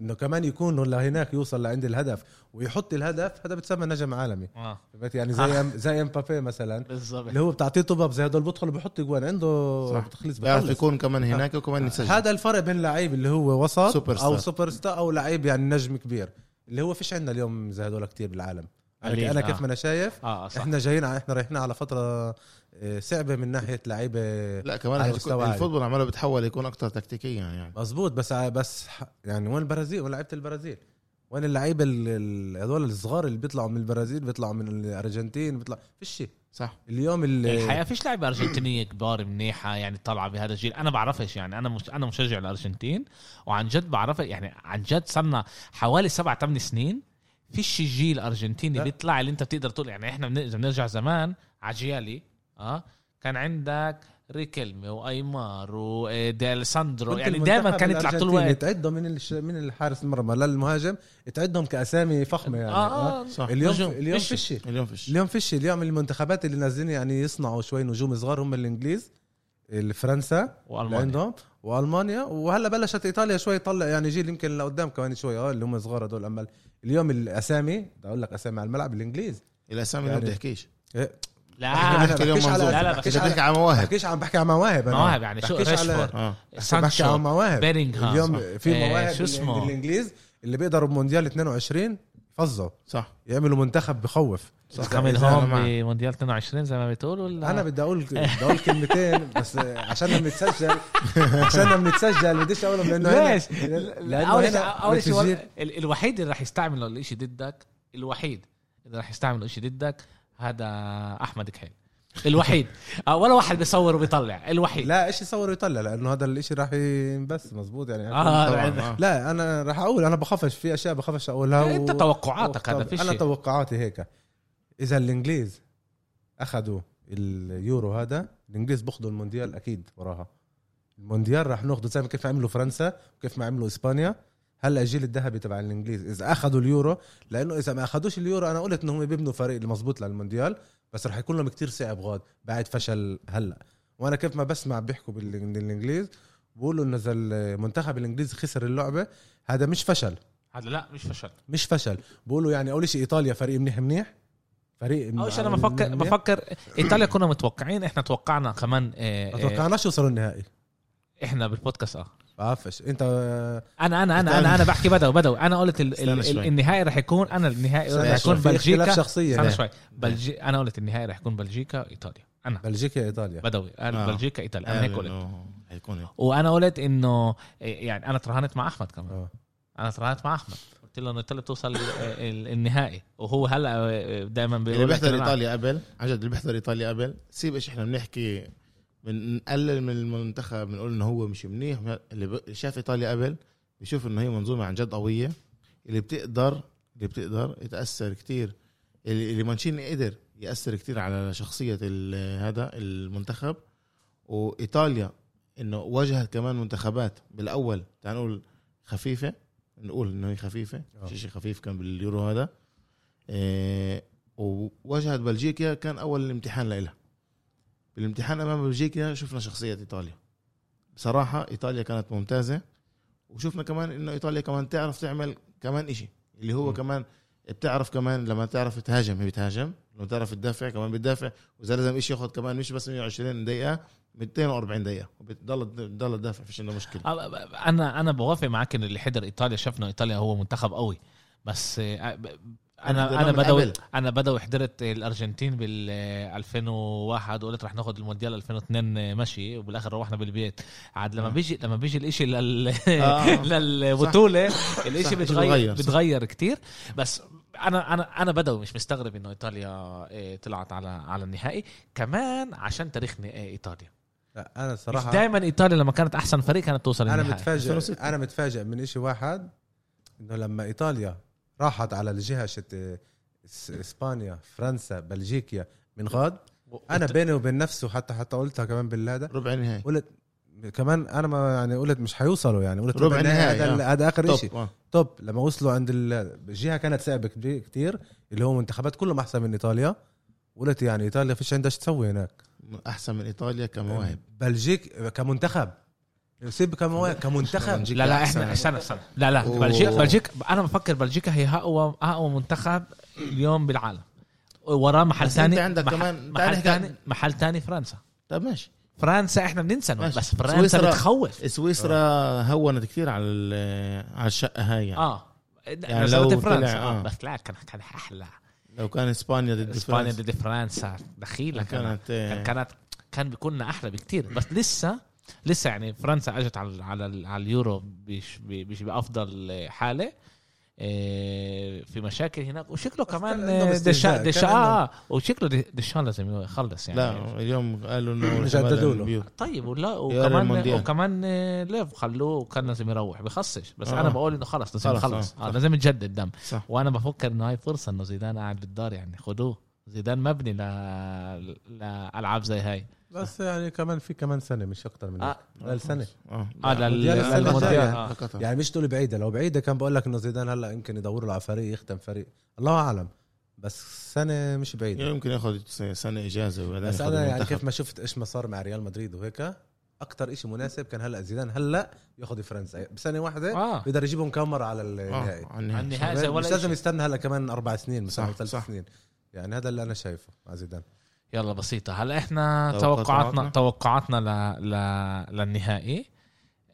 S3: انه كمان يكون ولا هناك يوصل لعند الهدف ويحط الهدف هذا بتسمى نجم عالمي
S1: اه
S3: فهمت يعني زي أم... زي امبابي مثلا اللي
S1: بالظبط
S3: هو بتعطيه طبب زي هدول بدخل بحط جوان عنده
S2: صح.
S3: تخليص
S2: بيعرف
S3: بخلص
S2: يكون كمان هناك وكمان يسجل
S3: هذا الفرق بين لعيب اللي هو وسط
S2: سوبر
S3: او
S2: ستار.
S3: سوبر ستار او لعيب يعني نجم كبير اللي هو فيش عندنا اليوم زي هدول كتير بالعالم
S1: قليل،
S3: انا انا
S1: آه.
S3: كيف ما انا شايف
S1: اه صح
S3: احنا جايين على احنا رايحين على فتره آه، صعبه من ناحيه لعيبه
S2: لا كمان
S3: على
S2: هتكون-
S3: مستوى عالي.
S2: الفوتبول عماله بتحول يكون اكثر تكتيكيا يعني
S3: مزبوط بس بس ح- يعني وين البرازيل وين لعيبه البرازيل وين اللعيبه ال- ال- هذول الصغار اللي بيطلعوا من البرازيل بيطلعوا من الارجنتين بيطلع فيش شيء
S2: صح
S3: اليوم ال-
S1: الحقيقه يعني فيش لعيبه ارجنتينيه كبار منيحه يعني طالعه بهذا الجيل انا بعرفش يعني انا مش انا مشجع الارجنتين وعن جد بعرف يعني عن جد صرنا حوالي سبع ثمان سنين فيش جيل ارجنتيني
S3: لا.
S1: بيطلع اللي انت بتقدر تقول يعني احنا بن- اذا بنرجع زمان عجيالي اه كان عندك ريكلمي وايمار وديلساندرو
S3: كنت
S1: يعني
S3: المنتخب
S1: دائما كان يطلع طول
S3: الأرجنتيني
S1: الوقت
S3: تعدهم من الش... من الحارس المرمى للمهاجم تعدهم كاسامي فخمه يعني
S1: اه اه
S2: صح
S3: اليوم
S1: نجوم.
S3: اليوم
S1: فيش.
S3: فيش شيء
S2: اليوم فيش
S3: اليوم فيش اليوم المنتخبات اللي نازلين يعني يصنعوا شوي نجوم صغار هم الانجليز الفرنسا اللي
S1: والمانيا
S3: عندهم والمانيا وهلا بلشت ايطاليا شوي تطلع يعني جيل يمكن لقدام كمان شوي اه اللي هم صغار هدول اما اليوم الاسامي بدي اقول لك اسامي على الملعب الانجليز
S2: الاسامي اللي ما
S3: يعني- آه،
S2: بتحكيش
S1: لا
S2: احنا
S3: أنا
S2: بنحكي اليوم
S3: بحكيش على-
S2: منظور
S1: لا، لا،
S2: انت
S3: بحكيش
S2: بتحكي
S3: على
S2: على مواهب
S3: بحكيش عم بحكي عن مواهب أنا.
S1: آه. مواهب يعني شو
S3: بحكيش على-
S1: ريشفورد
S2: اه
S3: بحكي عن
S1: سانشو
S3: مواهب
S1: بيرينغهام
S3: اليوم في
S1: آه،
S3: مواهب
S1: شو اسمه؟
S3: من الانجليز اللي بيقدروا بمونديال 22 يفظوا
S2: صح
S3: يعملوا منتخب بخوف
S1: كامل
S2: إذا أنا
S1: هوم
S2: معك.
S1: بمونديال 22 زي ما بتقول ولا
S3: انا بدي اقول بدي اقول كلمتين بس عشان بنتسجل عشان بنتسجل بديش اقولهم لانه هنا
S1: ليش؟
S3: لانه
S1: اول شيء
S3: هنا
S1: اول شيء
S3: بتجيب-
S1: ور- ال- الوحيد اللي راح يستعمل الشيء ضدك الوحيد اللي راح يستعمل الشيء ضدك هذا احمد كحيل الوحيد آه، ولا واحد بيصور وبيطلع الوحيد
S3: لا ايش يصور ويطلع لانه هذا الاشي راح ينبث مزبوط يعني
S1: آه،
S2: طبعاً،
S1: لا،
S2: آه.
S3: لا انا راح اقول انا بخافش في اشياء بخافش اقولها و-
S1: انت توقعاتك هذا
S3: وأختار-
S1: فيش
S3: انا
S1: شيء.
S3: توقعاتي هيك اذا الانجليز اخذوا اليورو هذا الانجليز بياخذوا المونديال اكيد وراها المونديال راح ناخذه زي ما كيف عملوا فرنسا وكيف ما عملوا اسبانيا هلا الجيل الذهبي تبع الانجليز اذا اخذوا اليورو لانه اذا ما اخذوش اليورو انا قلت انهم بيبنوا فريق المزبوط للمونديال بس رح يكون لهم كتير صعب غاد بعد فشل هلا وانا كيف ما بسمع بيحكوا بالإن- بالانجليز بقولوا انه اذا المنتخب الانجليزي خسر اللعبه هذا مش فشل
S1: هذا لا مش فشل
S3: مش فشل بقولوا يعني اول شيء ايطاليا فريق منيح منيح فريق
S1: اول شيء انا بفكر
S3: منيح.
S1: بفكر ايطاليا كنا متوقعين احنا توقعنا كمان
S3: ما
S1: إيه إيه
S3: توقعناش يوصلوا النهائي
S1: احنا بالبودكاست اه
S3: بعرفش انت آه،
S1: انا انا انا انا انا بحكي بدو بدو انا قلت ال- ال-
S2: استنى
S1: ال-
S2: شوي.
S1: النهائي رح يكون انا النهائي
S3: استنى
S1: رح
S3: شوي،
S1: يكون
S3: في اختلاف
S1: بلجيكا استنى
S3: شخصيه
S1: شوي بلجي انا قلت النهائي رح يكون بلجيكا ايطاليا انا
S3: بلجيكا ايطاليا
S1: بدوي قال
S2: آه.
S1: بلجيكا ايطاليا انا هيك قلت
S2: هيكون هيك
S1: وانا قلت انه إيه، يعني انا تراهنت مع احمد كمان
S3: آه.
S1: انا تراهنت مع احمد قلت له انه ايطاليا بتوصل ال- ال- النهائي وهو هلا آه، دائما
S2: اللي
S1: بيقول لك
S2: يعني بيحضر
S1: أنا-
S2: ايطاليا قبل عجد اللي بيحضر ايطاليا قبل سيب ايش احنا بنحكي بنقلل من المنتخب بنقول انه هو مش منيح اللي ب- شاف ايطاليا قبل بيشوف انه هي منظومه عن جد قويه اللي بتقدر اللي بتقدر يتاثر كتير اللي اللي مانشيني قدر ياثر كتير على شخصيه ال- هذا المنتخب وايطاليا انه واجهت كمان منتخبات بالاول تعال نقول خفيفه نقول انه هي خفيفه
S3: آه.
S2: شيء خفيف كان باليورو هذا إيه وواجهت بلجيكا كان اول امتحان لها بالامتحان امام بلجيكا شفنا شخصيه ايطاليا بصراحه ايطاليا كانت ممتازه وشفنا كمان انه ايطاليا كمان تعرف تعمل كمان إشي اللي هو
S3: مم.
S2: كمان بتعرف كمان لما تعرف تهاجم هي بتهاجم لما تعرف تدافع كمان بتدافع واذا لازم إشي ياخذ كمان مش بس 120 دقيقه 240 دقيقه وبتضل بتضل تدافع فيش عندها مشكله
S1: انا انا بوافق معاك ان اللي حضر ايطاليا شافنا ايطاليا هو منتخب قوي بس آه، ب- انا انا
S2: حضرناه من
S1: بدوي
S2: قبل.
S1: انا بدوي حضرت الارجنتين بال 2001 وقلت رح ناخد المونديال 2002 ماشي وبالاخر روحنا بالبيت عاد لما
S2: آه.
S1: بيجي لما بيجي الاشي لل
S2: آه.
S1: للبطوله الاشي
S2: صح، إشي
S1: بتغير
S2: بتغير، صح.
S1: بتغير كتير بس انا انا انا بدوي مش مستغرب انه ايطاليا آه، طلعت على على النهائي كمان عشان تاريخ ن- آه، ايطاليا
S3: لا، انا
S1: مش
S3: صراحه
S1: دائما ايطاليا لما كانت احسن فريق كانت توصل
S3: انا
S1: النهائي
S3: متفاجئ انا متفاجئ من إشي واحد انه لما ايطاليا راحت على الجهه شت إس- اسبانيا فرنسا بلجيكا من غاد انا بيني وبين نفسه حتى حتى قلتها كمان بالهذا
S2: ربع نهائي
S3: قلت كمان انا ما يعني قلت مش حيوصلوا يعني قلت
S2: ربع
S3: ربع النهائي
S2: نهائي،
S3: هذا هذا اخر شيء
S2: توب آه.
S3: توب لما وصلوا عند ال- الجهه كانت صعبه كبير- كتير اللي هو منتخبات كلهم احسن من ايطاليا قلت يعني ايطاليا فيش عندها شو تسوي هناك
S2: احسن من ايطاليا كمواهب
S3: أمم. بلجيك كمنتخب سيب كمواهب كمنتخب
S1: لا لا احنا استنى استنى لا لا
S2: أوه.
S1: بلجيكا بلجيكا انا بفكر بلجيكا هي اقوى اقوى منتخب اليوم بالعالم وراه محل
S2: بس أنت
S1: ثاني
S2: عندك
S1: محل,
S2: كمان- تعال
S1: محل
S2: نحكي
S1: ثاني
S2: عن-
S1: محل ثاني فرنسا
S2: طب ماشي
S1: فرنسا احنا بننسى إنه-
S2: ماشي.
S1: بس فرنسا
S2: سويسرا. إيه.
S1: بتخوف
S2: سويسرا هونت كثير على ال- على الشقه هاي يعني.
S1: اه يعني
S2: لو
S1: لو
S2: طلع-
S1: فرنسا آه.
S2: آه.
S1: بس لا كان كان احلى
S2: لو كان اسبانيا ضد
S1: اسبانيا
S2: فرنسا
S1: ضد فرنسا دخيلك كانت
S2: كانت آه،
S1: كان كانت كان بيكوننا احلى بكتير بس لسه لسه يعني فرنسا اجت على على على اليورو بش بش بافضل حاله إيه، في مشاكل هناك وشكله كمان
S3: كان عندهم
S1: آه،
S3: استهزاء،
S1: دشا
S3: كان
S1: دشا
S3: عندهم-
S1: آه، وشكله د- دشان لازم يخلص يعني
S2: لا اليوم قالوا انه
S3: جددوا له.
S2: البيوت.
S1: طيب ولا
S2: يا
S1: وكمان
S2: المونديال.
S1: وكمان آه، ليف خلوه وكان لازم يروح بخصش بس
S2: آه.
S1: انا بقول انه خلص لازم
S2: خلص،
S1: يخلص
S2: آه.
S1: آه، لازم يتجدد دم
S2: صح
S1: وانا بفكر انه هاي فرصه انه زيدان قاعد بالدار يعني خدوه زيدان مبني ل... لالعاب زي هاي
S3: بس يعني كمان في كمان سنه مش اكتر من هيك.
S1: آه.
S3: لا السنه
S2: اه
S1: اه لل-
S3: المونديال آه، السنة
S1: للمونديال،
S3: الجاية.
S1: آه.
S2: لقطر.
S3: يعني مش تقول بعيده لو بعيده كان بقول لك انه زيدان هلا يمكن يدور له على فريق يخدم فريق الله اعلم بس سنه مش بعيده
S2: يمكن ياخذ سنه اجازه وبعدين
S3: يعني بس
S2: ياخذ
S3: انا يعني
S2: المنتخب.
S3: كيف ما شفت ايش ما صار مع ريال مدريد وهيك اكتر إشي مناسب كان هلا زيدان هلا ياخذ فرنسا بسنه واحده
S1: آه.
S3: بيقدر يجيبهم كم مره على النهائي
S2: اه على النهائي.
S1: على النهائي زي
S3: مش
S1: ولا
S3: لازم
S1: إشي.
S3: يستنى هلا كمان اربع سنين مثلا
S2: صح،
S3: أو ثلاث
S2: صح.
S3: سنين يعني هذا اللي انا شايفه مع زيدان
S1: يلا بسيطة هلا احنا توقعاتنا
S2: توقعاتنا؟
S1: توقعاتنا ل... ل... للنهائي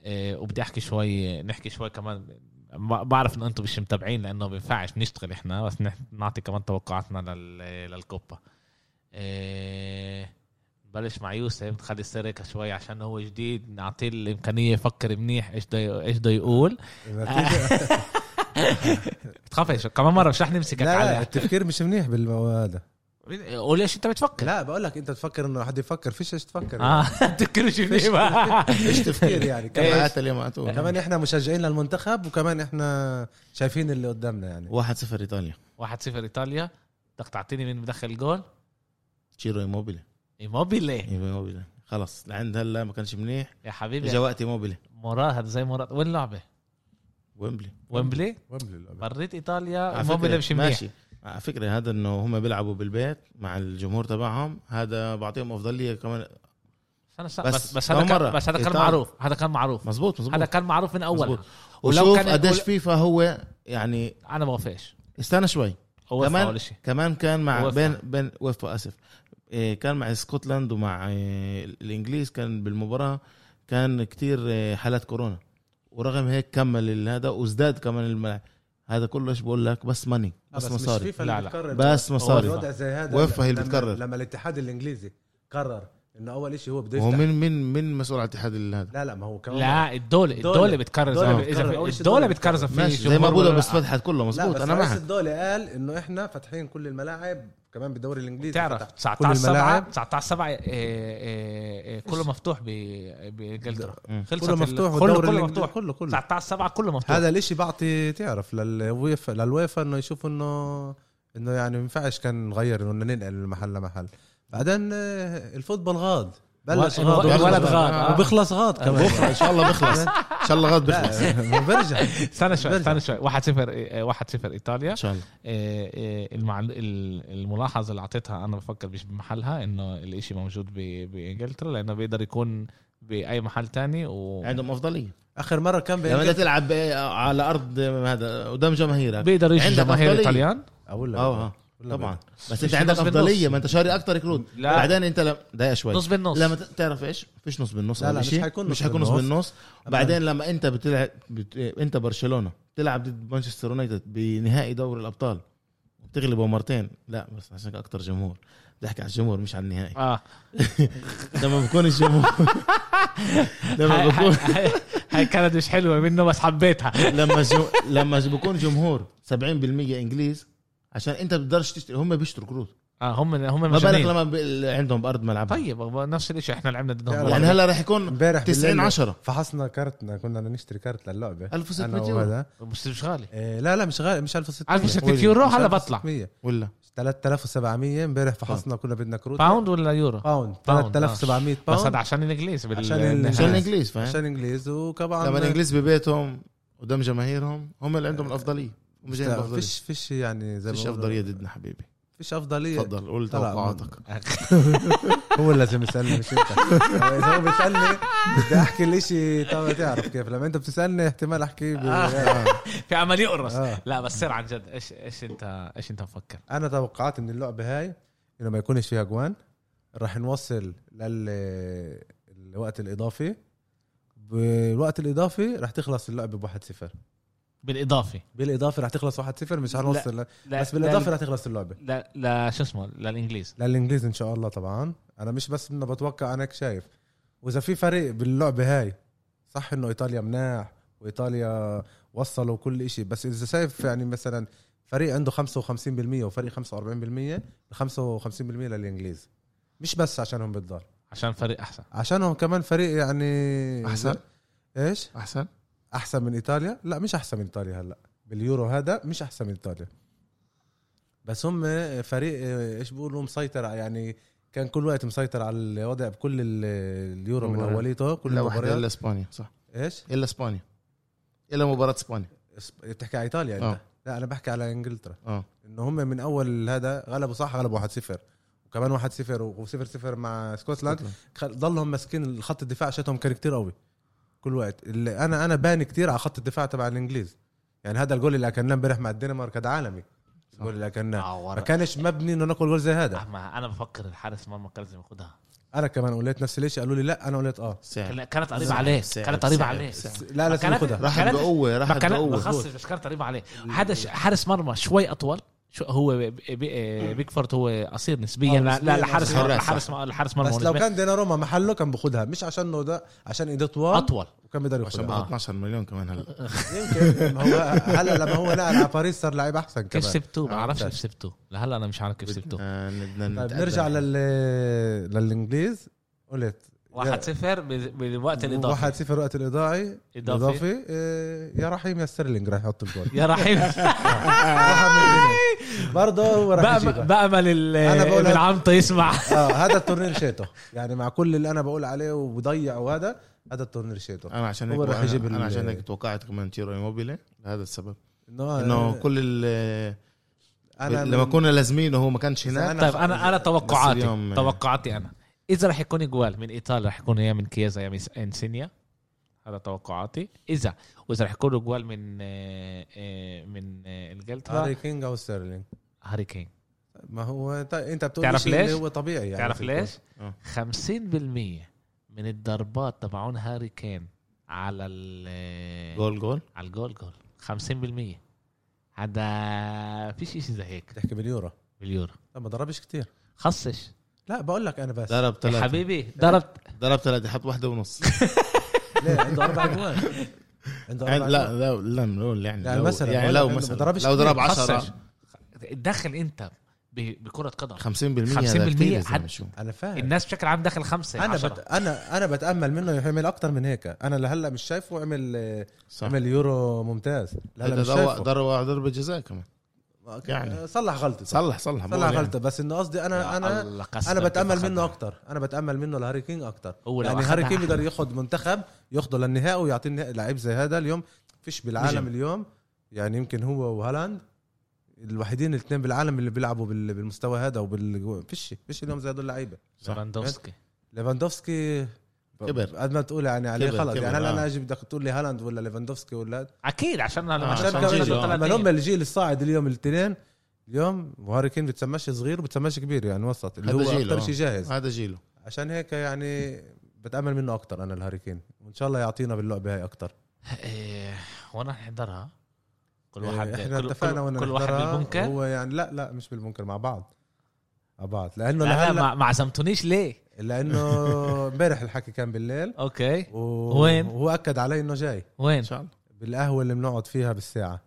S1: إيه وبدي احكي شوي نحكي شوي كمان ب- بعرف انه انتم مش متابعين لانه ما بينفعش نشتغل احنا بس نح- نعطي كمان توقعاتنا لل... للكوبا إيه بلش مع يوسف نخلي السيرك شوي عشان هو جديد نعطيه الامكانيه يفكر منيح ايش بده ايش بده يقول
S3: النتيجة-
S1: تخافش كمان مره مش رح نمسكك
S3: لا لا
S1: على
S3: التفكير مش منيح بالمواد
S1: قول ايش انت بتفكر
S3: لا بقول لك انت تفكر انه حد يفكر فيش ايش تفكر
S2: آه.
S1: اه تذكرش
S2: إيوه.
S1: منيح
S3: فيش تفكير يعني
S2: كم
S3: كمان
S2: عات اليوم عتوه
S3: كمان احنا مشجعين للمنتخب وكمان احنا شايفين اللي قدامنا يعني
S2: 1-0 ايطاليا
S1: 1-0 ايطاليا بدك تعطيني مين بدخل جول
S2: تشيرو ايموبيلي
S1: ايموبيلي
S2: ايموبيلي خلص لعند هلا ما كانش منيح
S1: يا حبيبي
S2: اجا وقت ايموبيلي
S1: مراه هذا زي مراه وين اللعبه
S2: ويمبلي
S1: ويمبلي
S3: ويمبلي الأبيض.
S1: مريت ايطاليا
S2: على
S1: وموبيلا
S2: فكرة-
S1: آه، مش منيح
S2: ماشي على فكره هذا انه هم بيلعبوا بالبيت مع الجمهور تبعهم هذا بعطيهم افضليه كمان
S1: بس أنا-
S2: بس
S1: بس بس هذا
S2: كم مرة؟
S1: كان بس هذا كان
S2: إيطاليا.
S1: معروف هذا كان معروف
S2: مزبوط مزبوط
S1: هذا كان معروف من اول
S2: مزبوط.
S1: ولو
S2: ولو
S1: كان
S2: كان قديش فيفا هو يعني
S1: انا ما وافقش
S2: استنى شوي
S1: هو
S2: كمان-
S1: اول شيء
S2: كمان كان مع
S1: وفا.
S2: بين بين وفا اسف إيه، كان مع اسكتلند ومع إيه، الانجليز كان بالمباراه كان كتير إيه، حالات كورونا ورغم هيك كمل هذا وازداد كمان الملعب هذا كله ايش بقول لك بس ماني بس,
S3: آه، بس مش
S2: مصاري
S3: فيفا
S1: لا،
S3: اللي
S1: لا.
S3: بتقرر
S2: بس مصاري
S1: الوضع
S3: الوضع زي هذا
S2: وفا هي اللي
S3: لما-
S2: بتقرر.
S3: لما الاتحاد الانجليزي قرر انه اول شيء هو بده
S2: وهو
S3: يفتح
S2: من من من مسؤول على الاتحاد هذا
S3: لا لا ما هو كمان
S1: لا الدولة
S3: الدولة.
S1: الدولة بتكرز
S3: الدولة
S1: إذا-
S3: بتكرز.
S1: إذا
S3: أول شيء
S1: الدولة
S3: الدولة
S1: بتكرز
S3: بتكرز.
S1: في
S2: ماشي زي
S1: جمهور
S2: ما
S1: ولا
S2: ابوظبي
S1: لا.
S2: بس فتحت كله مزبوط
S3: بس
S2: انا
S3: رئيس
S2: معك
S3: الدولة قال انه احنا فاتحين كل الملاعب كمان بالدوري الانجليزي
S1: بتعرف
S3: فتح
S1: 19
S3: كل الملاعب.
S1: 7 19 7 إيه، إيه، إيه، كله مفتوح ب- بانجلترا
S2: مم.
S1: خلصت
S3: كله
S1: ال-
S3: مفتوح
S1: كله
S3: والدوري
S1: كله
S3: الإنجليزي
S1: مفتوح
S3: كله كله
S1: 19 7 كله مفتوح
S3: هذا الاشي بعطي تعرف للويفا للويفا انه يشوفوا انه انه يعني ما ينفعش كان نغير انه ننقل من محل لمحل بعدين آه، الفوتبول غاض بلش
S1: و-
S3: غاض
S1: الولد غاض،
S3: وبيخلص
S1: آه.
S3: وبيخلص غاض كمان
S2: بخلص ان شاء الله بخلص ان شاء الله غد بخلص
S3: لا ما برجع
S1: استنى شوي
S3: برجع.
S1: استنى شوي إيه، 1 0 1 0 ايطاليا
S2: ان شاء الله
S1: إيه، إيه، المعل... ال- الملاحظه اللي اعطيتها انا بفكر مش بمحلها انه الاشي موجود ب... بانجلترا لانه بيقدر يكون باي محل تاني و
S2: عندهم افضليه
S3: اخر مره كان
S2: لما بدك
S3: بإنجلترا-
S2: تلعب ب- على ارض هذا قدام جماهيرك
S1: بيقدر يجي
S2: عندك
S1: جماهير
S2: أفضلية.
S1: ايطاليان
S3: اقول لك
S2: اه آه،
S3: ولا
S2: طبعا
S1: مش
S2: بس انت عندك
S1: نص بالنص.
S2: افضليه ما انت شاري اكثر كروت
S1: لا.
S2: بعدين انت لما دقيقه شوي
S1: نص بالنص
S2: لما ت- تعرف ايش فيش نص بالنص
S3: لا، لا،
S2: أول
S3: مش
S2: شيء.
S3: حيكون
S2: مش
S3: نص
S2: حيكون نص
S3: بالنص.
S2: بالنص بعدين لما انت بتلعب بت... انت برشلونه تلعب ضد مانشستر يونايتد بنهائي دوري الابطال بتغلبه مرتين لا بس عشان اكثر جمهور بدي احكي على الجمهور مش على النهائي
S1: اه
S2: لما بكون الجمهور لما بكون
S1: هاي- هاي كانت مش حلوه منه بس حبيتها
S2: لما جو... لما بكون جمهور 70% انجليز عشان انت بتقدرش تشتري هم بيشتروا كروت
S1: اه هم هم
S2: ما بالك
S1: مجانين.
S2: لما ب... عندهم بارض ملعبهم
S1: طيب هو نفس الشيء احنا لعبنا ضدهم
S2: يعني هلا رح يكون
S3: امبارح
S2: 90
S3: بالليل
S2: 10
S3: فحصنا كارتنا كنا بدنا نشتري كارت للعبه
S2: 1600
S3: أنا
S2: يورو.
S3: وهذا.
S1: بس مش غالي
S3: إيه، لا لا مش غالي مش 1600
S1: 1600 يورو،
S3: مش
S1: هلا بطلع.
S3: 1600.
S2: ولا
S3: 3700 امبارح فحصنا كنا بدنا كروت
S1: باوند ولا يورو
S3: باوند
S1: باوند،
S3: 3700 باوند
S1: بس هذا عشان الانجليز بال...
S3: عشان ال-
S2: آه، عشان
S1: عشان
S3: النهائي.
S2: الانجليز فاهم
S3: عشان انجليز وطبعا
S2: لما الانجليز ببيتهم قدام جماهيرهم هم اللي عندهم الافضليه هم جايين
S3: لا،
S2: بافضليه
S3: فيش فيش يعني زي ما
S2: فيش
S3: بقولوا-
S2: افضليه ضدنا حبيبي
S3: فيش افضليه
S2: تفضل قول
S3: طلع
S2: توقعاتك
S3: هو اللي لازم يسالني مش انت اذا هو بيسالني بدي احكي الاشي طبعا تعرف كيف لما انت بتسالني احتمال احكي ب- آه.
S1: في عمل يقرص
S3: آه.
S1: لا بس سير عن جد ايش ايش انت ايش انت مفكر
S3: انا توقعت من اللعبه هاي انه ما يكونش فيها جوان راح نوصل للوقت الاضافي بالوقت الاضافي راح تخلص اللعبه ب 1-0
S1: بالاضافه
S3: بالاضافه راح تخلص 1-0 مش
S1: لا.
S3: هنوصل لا.
S1: لا
S3: بس بالاضافه راح تخلص اللعبه
S1: لا لا شو اسمه للانجليز
S3: للانجليز ان شاء الله طبعا انا مش بس انه بتوقع انا هيك شايف واذا في فريق باللعبه هاي صح انه ايطاليا مناح وايطاليا وصلوا كل إشي بس اذا شايف يعني مثلا فريق عنده 55% وفريق 45% 55% للانجليز مش بس عشانهم بالدار
S1: عشان فريق احسن
S3: عشانهم كمان فريق يعني
S2: أحسن؟
S3: ايش
S2: احسن
S3: احسن من ايطاليا لا مش احسن من ايطاليا هلا باليورو هذا مش احسن من ايطاليا بس هم فريق آه، ايش بيقولوا مسيطر على- يعني كان كل وقت مسيطر على الوضع بكل ال- اليورو من
S2: مباراة.
S3: اوليته كل
S2: كل واحده
S3: المباريات
S2: الا اسبانيا صح
S3: ايش
S2: الا اسبانيا الا مباراه اسبانيا
S3: إسب- بتحكي على ايطاليا انت
S2: آه.
S3: لا انا بحكي على انجلترا
S2: اه
S3: انه هم من اول هذا غلبوا صح غلبوا 1-0 وكمان 1-0 و0-0 مع اسكتلند خل- ضلهم ماسكين الخط الدفاع شتهم كان كتير قوي كل وقت اللي انا انا باني كتير على خط الدفاع تبع الانجليز يعني هذا الجول اللي اكلناه امبارح مع الدنمارك كان عالمي الجول اللي
S1: آه،
S3: اكلناه ما كانش مبني انه ناكل جول زي هذا
S1: ما انا بفكر الحارس مرمى كان لازم ياخدها
S3: انا كمان قلت نفس الشيء قالوا لي لا انا قلت اه
S1: كان- كانت قريبه عليه
S2: صعب،
S1: كانت قريبه
S2: صعب،
S1: عليه
S2: صعب.
S3: لا
S1: ما
S3: لازم
S1: كانت-
S3: ياخدها
S2: راحت
S1: كانت-
S2: بقوه
S1: ما
S2: راحت
S1: كان
S2: بقوه
S1: بخصص بس كانت قريبه عليه هذا ش- حارس مرمى شوي اطول شو هو بي- بي- بيكفورت هو قصير نسبيا
S3: آه،
S1: لا
S3: نسبياً
S1: لا لحارس
S2: قصير.
S1: مرمى لحارس مرمى لحارس مرمى
S3: بس
S1: هو
S3: لو
S1: نسبياً
S3: كان ديناروما محله كان باخدها مش عشان انه ده عشان ايده طوال
S1: اطول
S3: وكان بيقدر
S2: عشان
S3: ياخدها
S2: بقى 12 مليون كمان
S1: آه،
S2: هلا
S3: يمكن ما هو هلا لما هو نقل على باريس صار لعيب احسن
S1: كيف
S3: كمان
S1: سبتوه ما
S3: آه،
S1: بعرفش
S3: ممتاز.
S1: كيف سبتوه لهلا انا مش عارف كيف سبتوه
S2: آه، بدنا
S3: طيب
S2: نتقدم.
S3: نرجع لل للانجليز قلت
S1: 1-0 بال- بالوقت الاضافي
S3: 1-0 وقت الاضافي
S1: إضافي.
S3: اضافي إيه، يا رحيم يا ستيرلينج راح يحط الجول إيه؟
S1: يا آه. رحيم
S3: برضه هو راح آه،
S1: بأم-
S3: يجيبها
S1: بامل ال-
S3: أنا بقول
S1: ابن
S3: لك-
S1: عمته يسمع
S3: اه هذا التورنير شيته يعني مع كل اللي انا بقول عليه وبضيع وهذا هذا التورنيشيتو
S2: انا عشان هيك
S3: هو راح يجيب ال-
S2: انا عشان هيك توقعت كمان تشيرو ايموبيلي لهذا السبب
S3: انه
S2: انه كل ال
S3: آه، أنا
S2: لما
S3: من-
S2: كنا لازمينه هو ما كانش هناك
S3: أنا
S1: طيب
S3: خ-
S1: انا انا توقعاتي
S3: يعني.
S2: اليوم-
S1: توقعاتي انا اذا رح يكون جوال من ايطاليا رح يكون يا من كيزا يا من انسينيا هذا توقعاتي اذا واذا رح يكون جوال من آه، آه، من آه،
S3: هاري
S1: انجلترا
S3: كينج او ستيرلينج
S1: هاري كين
S3: ما هو طيب انت بتقول
S1: تعرف
S3: شيء اللي
S1: ليش؟
S3: هو طبيعي يعني
S1: تعرف
S3: في
S1: ليش؟
S2: آه.
S1: 50% من الضربات تبعون هاري كين على ال آه،
S2: جول جول
S1: على الجول جول 50% هذا في شيء زي هيك
S3: تحكي باليورو
S1: باليورو
S3: لا ما ضربش كتير
S1: خصش
S3: لا بقول لك انا بس
S2: ضرب
S1: يا
S2: ثلاثة
S1: حبيبي ضربت
S2: ضرب ثلاثة حط واحدة ونص
S3: ليه عنده اربع اجوان عنده
S2: يعني
S3: اربع
S2: لا لا لا نقول يعني
S3: يعني
S2: لو
S3: مثلاً،
S2: يعني
S3: بقول
S2: لو
S3: لك إنه
S2: مثلا
S3: بضربش
S2: لو ضرب
S3: كتير.
S2: 10
S1: دخل انت ب- بكره قدم
S2: 50% 50%
S1: 50%
S2: هذا كتير يا
S1: حد-
S2: زلمة شو
S3: انا فاهم
S1: الناس بشكل عام دخل خمسه
S3: انا
S1: انا
S3: بت... انا انا بتامل منه يعمل اكتر من هيك انا لهلا مش شايفه عمل آه،
S2: صح
S3: عمل يورو ممتاز لهلا
S2: هذا
S3: مش
S2: ضرب
S3: شايفه
S2: ضرب ضربة جزاء كمان يعني.
S3: يعني صلح غلطته
S2: صلح يعني. صلح
S3: صلح غلطه بس انه قصدي انا انا انا بتامل منه اكتر انا بتامل منه لهاري كينج اكتر
S1: هو لو
S3: يعني
S1: أخدها
S3: هاري كينج
S1: أحلى.
S3: بيقدر ياخد منتخب ياخده للنهائي ويعطي النهائي لعيب زي هذا اليوم فيش بالعالم
S2: نجم.
S3: اليوم يعني يمكن هو وهالاند الوحيدين الاثنين بالعالم اللي بيلعبوا بال- بالمستوى هذا وبال فيش فيش اليوم زي هدول اللعيبه
S2: صح.
S1: ليفاندوفسكي
S3: ليفاندوفسكي ب-
S2: كبر.
S3: قد ما تقول يعني عليه
S2: كبر،
S3: خلص
S2: كبر،
S3: يعني هلا
S2: آه.
S3: انا اجي بدك تقول لي هالاند ولا ليفاندوفسكي ولا
S1: اكيد عشان
S2: آه،
S1: انا
S2: عشان
S1: عشان
S2: جيل،
S1: جيل
S2: آه.
S3: ما هم الجيل الصاعد اليوم الاثنين اليوم وهاري كين بتسماش صغير وبتسماش كبير يعني وسط اللي هو
S2: هذا جيله
S3: اكثر
S2: آه.
S3: شيء جاهز
S2: هذا جيله
S3: عشان هيك يعني بتامل منه اكتر انا الهاريكين وان شاء الله يعطينا باللعبه هاي اكتر
S1: إيه، وانا نحضرها كل
S3: إيه،
S1: واحد
S3: احنا
S1: كل-
S3: اتفقنا
S1: كل-
S3: وانا
S1: كل واحد
S3: نحضرها،
S1: بالبنكة
S3: هو يعني لا لا مش بالبنكر مع بعض مع بعض لانه
S1: لا
S3: لهلا
S1: ما ما عزمتونيش ليه
S3: لانه امبارح الحكي كان بالليل
S1: اوكي
S3: و...
S1: وين؟
S3: وهو اكد علي انه جاي
S2: ان
S1: وين
S2: شاء الله
S3: بالقهوه اللي بنقعد فيها بالساعه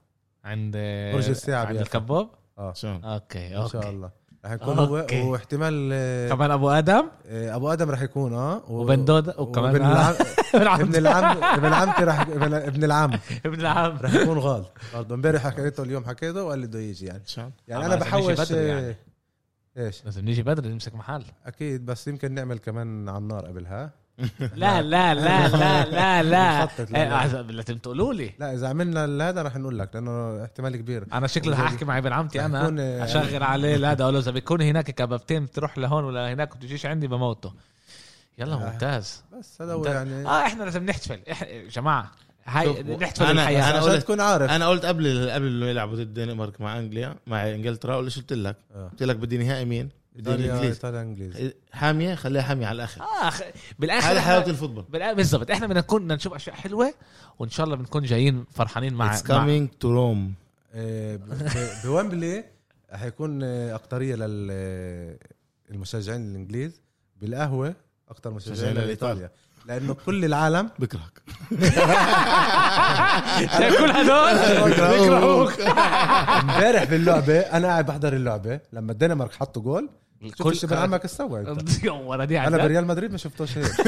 S1: عند
S3: برج الساعة
S1: عند
S3: بيافا.
S1: الكباب
S3: اه
S2: ان شاء
S1: آه.
S2: الله
S1: اوكي
S3: ان شاء
S1: اوكي
S3: الله رح يكون هو
S1: أوكي.
S3: واحتمال آه،
S1: كمان ابو ادم
S3: آه، ابو ادم رح يكون اه و-
S1: وبن دود وكمان آه.
S3: وابن العم
S1: ابن
S3: ابن
S1: عم
S3: العم ابن عمتي رح ابن- ابن العم
S1: ابن العم
S3: رح يكون غال برضه امبارح حكيته اليوم حكيته وقال لي بده يجي يعني
S2: ان شاء الله
S3: يعني
S1: آه،
S3: انا
S1: بس مش
S3: بحوش آه،
S1: بدري يعني.
S3: ايش
S1: لازم نيجي بدري نمسك محل
S3: اكيد بس يمكن نعمل كمان على النار قبلها
S1: لا لا لا لا لا لا
S3: بنخطط
S1: إيه،
S3: لله.
S1: عز- لازم تقولوا لي
S3: لا اذا عملنا ال- هذا رح نقول لك لانه احتمال كبير
S1: انا شكلي هحكي مع ابن عمتي
S3: هيكون-
S2: آه،
S1: انا اشغل عليه لا ده اقول له اذا بيكون هناك كبابتين تروح لهون ولا هناك وتجيش عندي بموته يلا
S3: آه.
S1: ممتاز
S3: بس هذا هو
S1: ده-
S3: يعني
S1: اه احنا لازم نحتفل إح... جماعه
S2: شوف،
S1: هاي نحتفل
S2: أنا-
S1: الحياه
S2: أنا
S3: أنا عشان
S2: قلت-
S3: تكون عارف
S2: انا قلت قبل قبل اللي يلعبوا ضد الدنمارك مع انجليا مع انجلترا قلت شو قلت لك
S3: آه.
S2: قلت لك بدي نهائي مين بدي
S3: ايطاليا
S2: الانجليز
S3: ايطاليا انجليزي
S2: حاميه خليها حاميه على الاخر
S1: اه خ- بالاخر
S2: هذا
S1: إحنا-
S2: حلاوه الفوتبول
S1: بالآ- بالضبط احنا بدنا نكون بدنا نشوف اشياء حلوه وان شاء الله بنكون جايين فرحانين مع,
S2: It's
S1: مع
S2: coming to Rome
S3: آه، ب- ب- بومبلي حيكون آه، اكتريه للمشجعين الانجليز بالقهوه اكتر مشجعين
S2: مشجعين
S3: لايطاليا لانه كل العالم
S2: بكرهك
S1: شايف كل هدول
S2: بكرهوك
S3: امبارح باللعبه انا قاعد بحضر اللعبه لما الدنمارك حطوا جول كل شيء عمك استوعب
S1: آه، ورا دي
S3: انا
S1: عنا.
S3: بريال مدريد ما شفتوش هيك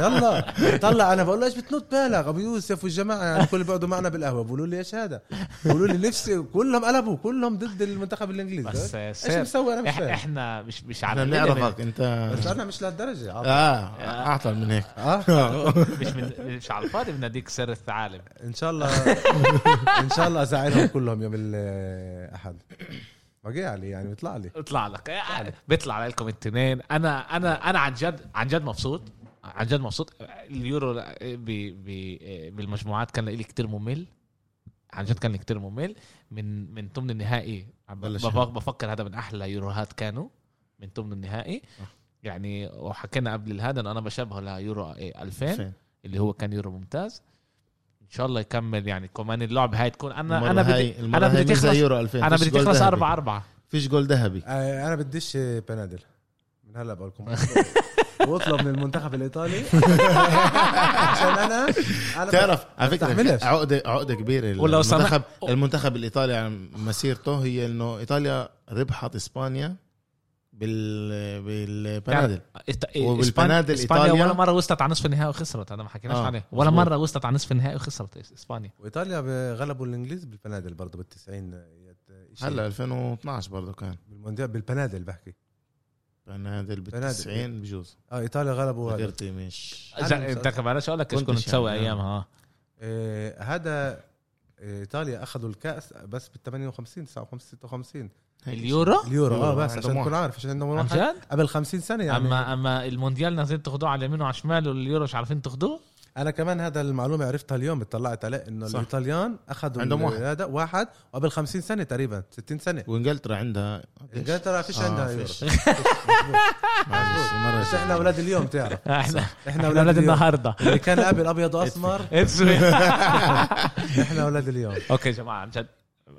S3: يلا طلع انا بقول له ايش بتنط بالغ ابو يوسف والجماعه يعني كل اللي بيقعدوا معنا بالقهوه بيقولوا لي ايش هذا بيقولوا لي نفسي كلهم قلبوا كلهم ضد المنتخب الانجليزي
S1: بس آه،
S3: ايش
S1: سير
S3: مسوي انا مش
S1: إح-
S3: فاهم
S1: احنا مش مش على
S2: احنا
S1: الليفل.
S2: بنعرفك انت
S3: بس انا مش لهالدرجه عاطل.
S2: اه
S1: آه.
S2: اعطى من هيك
S3: اه
S1: مش من مش على الفاضي بناديك سر الثعالب
S3: ان شاء الله ان شاء الله ازعلهم كلهم يوم الاحد بقي علي يعني بيطلع لي
S1: اطلع لك آه، بيطلع لكم التنين انا انا انا عن جد عن جد مبسوط عن جد مبسوط اليورو لا- ب ب بالمجموعات كان لي كتير ممل عن جد كان لي كتير ممل من من ثمن النهائي عم
S2: بلش
S1: بف- بفكر هذا من احلى يوروهات كانوا من ثمن النهائي يعني وحكينا قبل هذا انه انا بشبهه ليورو إيه، 2000 اللي هو كان يورو ممتاز ان شاء الله يكمل يعني كمان اللعب هاي تكون انا انا بدي انا بدي تخلص
S2: يورو 2000
S1: انا
S2: فيش
S1: بدي
S2: جول
S1: تخلص
S2: ذهبي.
S1: 4 4
S2: فيش جول ذهبي
S3: آه، انا بديش بنادل من هلا بقول لكم واطلب من المنتخب الايطالي عشان انا انا
S2: تعرف على
S3: بستحملش.
S2: فكره عقده عقده كبيره
S1: ولو سمح-
S2: المنتخب المنتخب الايطالي عن مسيرته هي انه ايطاليا ربحت اسبانيا بال بالبنادل
S1: إيط-
S2: وبالبنادل
S1: إيه، إسبانيا- اسبانيا
S2: إيطاليا.
S1: ولا مره وصلت على نصف النهائي وخسرت هذا ما حكيناش
S2: آه،
S1: عليه ولا
S2: مظبوط.
S1: مره وصلت على نصف النهائي وخسرت إس- اسبانيا
S3: وايطاليا ب- غلبوا الانجليز بالبنادل برضه بال 90
S2: هلا 2012 برضه كان
S3: بالمونديال بالبنادل بحكي
S2: بنادل بال
S3: بنادل.
S2: 90 بجوز
S3: اه ايطاليا غلبوا هذا
S2: قدرتي مش
S3: أنا
S1: إذا-
S3: مش-
S1: انت بلاش اقول لك ايش كنت
S2: كنتش
S1: تسوي
S2: يعني.
S1: ايامها
S3: آه، هذا آه، ايطاليا اخذوا الكاس بس بال 58 59 56
S2: هيك
S1: اليورو
S3: اليورو اه
S2: اليورو
S3: بس
S2: عندهم
S3: عشان تكون
S2: واحد.
S3: عارف عشان عندهم
S1: عن
S3: واحد
S1: جد؟
S3: قبل 50 سنه يعني
S1: اما اما المونديال نازلين تاخذوه على اليمين وعلى الشمال واليورو مش عارفين تاخذوه
S3: انا كمان هذا المعلومه عرفتها اليوم اطلعت عليه انه
S2: صح.
S3: الايطاليان اخذوا
S2: عندهم
S3: ال-
S2: واحد.
S3: هذا واحد وقبل 50 سنه تقريبا 60 سنه
S2: وانجلترا عندها
S3: انجلترا فيش عندها يورو
S2: آه، فيش.
S3: مظبوط.
S2: معلش، المرة
S3: بس احنا اولاد اليوم تعرف
S1: احنا
S3: احنا
S1: احنا
S3: اولاد
S1: اولاد
S3: اليوم
S1: النهارده
S3: اللي كان قبل ابيض واسمر
S1: It's-
S3: احنا اولاد اليوم
S1: اوكي يا جماعه عن جد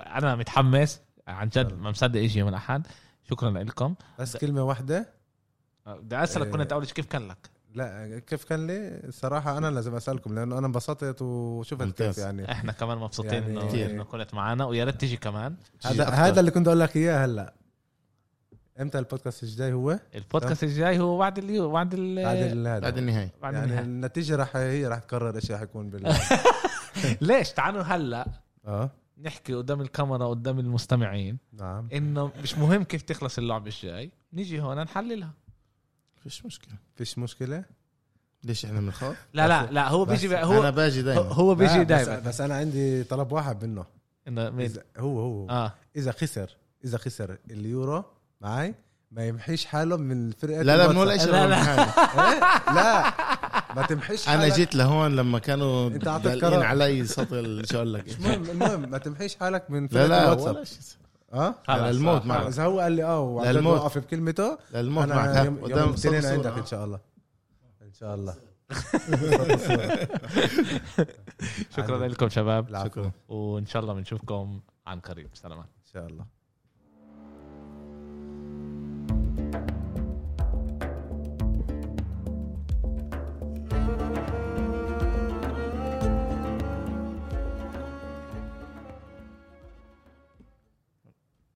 S1: انا متحمس عن جد ما مصدق ايش يوم الاحد شكرا لكم
S3: بس كلمه واحده
S1: بدي اسالك
S3: إيه.
S1: كنت اول شيء كيف كان لك؟
S3: لا كيف كان لي صراحه انا لازم اسالكم لانه انا انبسطت وشفت كيف
S2: ممتاز.
S3: يعني
S1: احنا كمان مبسوطين
S3: يعني
S1: انه
S2: كتير.
S1: انه كنت معنا ويا ريت تيجي كمان
S3: هذا
S2: أكتر.
S3: هذا اللي كنت اقول لك اياه هلا امتى البودكاست الجاي هو
S1: البودكاست الجاي هو بعد اليو بعد ال
S3: بعد ال- هذا
S2: بعد النهاية
S1: إيه، بعد
S3: يعني
S1: النهاية.
S3: النتيجه راح هي راح تقرر ايش راح يكون بال
S1: ليش تعالوا هلا
S3: اه
S1: نحكي قدام الكاميرا قدام المستمعين
S3: نعم
S1: انه مش مهم كيف تخلص اللعبه الجاي نيجي هون نحللها
S2: فيش مشكلة
S3: فيش مشكله
S2: ليش احنا بنخاف؟
S1: لا لا لا هو بيجي بقى-
S2: انا
S1: هو
S2: باجي دايما
S1: هو
S3: لا،
S1: بيجي
S3: بس-
S1: دائما
S3: بس انا عندي طلب واحد منه
S1: انه مين
S3: إذا- هو هو
S1: اه
S3: اذا خسر اذا خسر اليورو معي ما يمحيش حاله من
S2: لا
S3: فرقه
S2: لا
S3: الواتساب.
S2: بنقول ايش
S1: لا، لا.
S3: إيه؟ لا ما تمحيش
S2: انا
S3: حالك.
S2: جيت لهون لما كانوا
S3: أنت أعطيت
S2: دالقين
S3: قرار.
S2: علي سطل شو اقول لك
S3: مش مهم المهم ما تمحيش حالك من فرقه
S2: لا لا ولا
S3: الواتساب
S2: شيء
S3: اه
S1: خلص،
S2: الموت
S1: آه،
S2: معك.
S1: خلص.
S3: اذا هو قال لي اه وعن جد
S2: للموت.
S3: وقف بكلمته
S2: لا، الموت معك
S3: انا
S2: ها،
S3: يوم يوم
S2: قدام
S3: الاثنين
S2: صورة.
S3: عندك ان شاء الله ان شاء الله
S1: شكرا لكم شباب
S3: العفو
S2: شكرا
S3: ان
S1: وان شاء الله بنشوفكم عن قريب سلامات
S3: شاء الله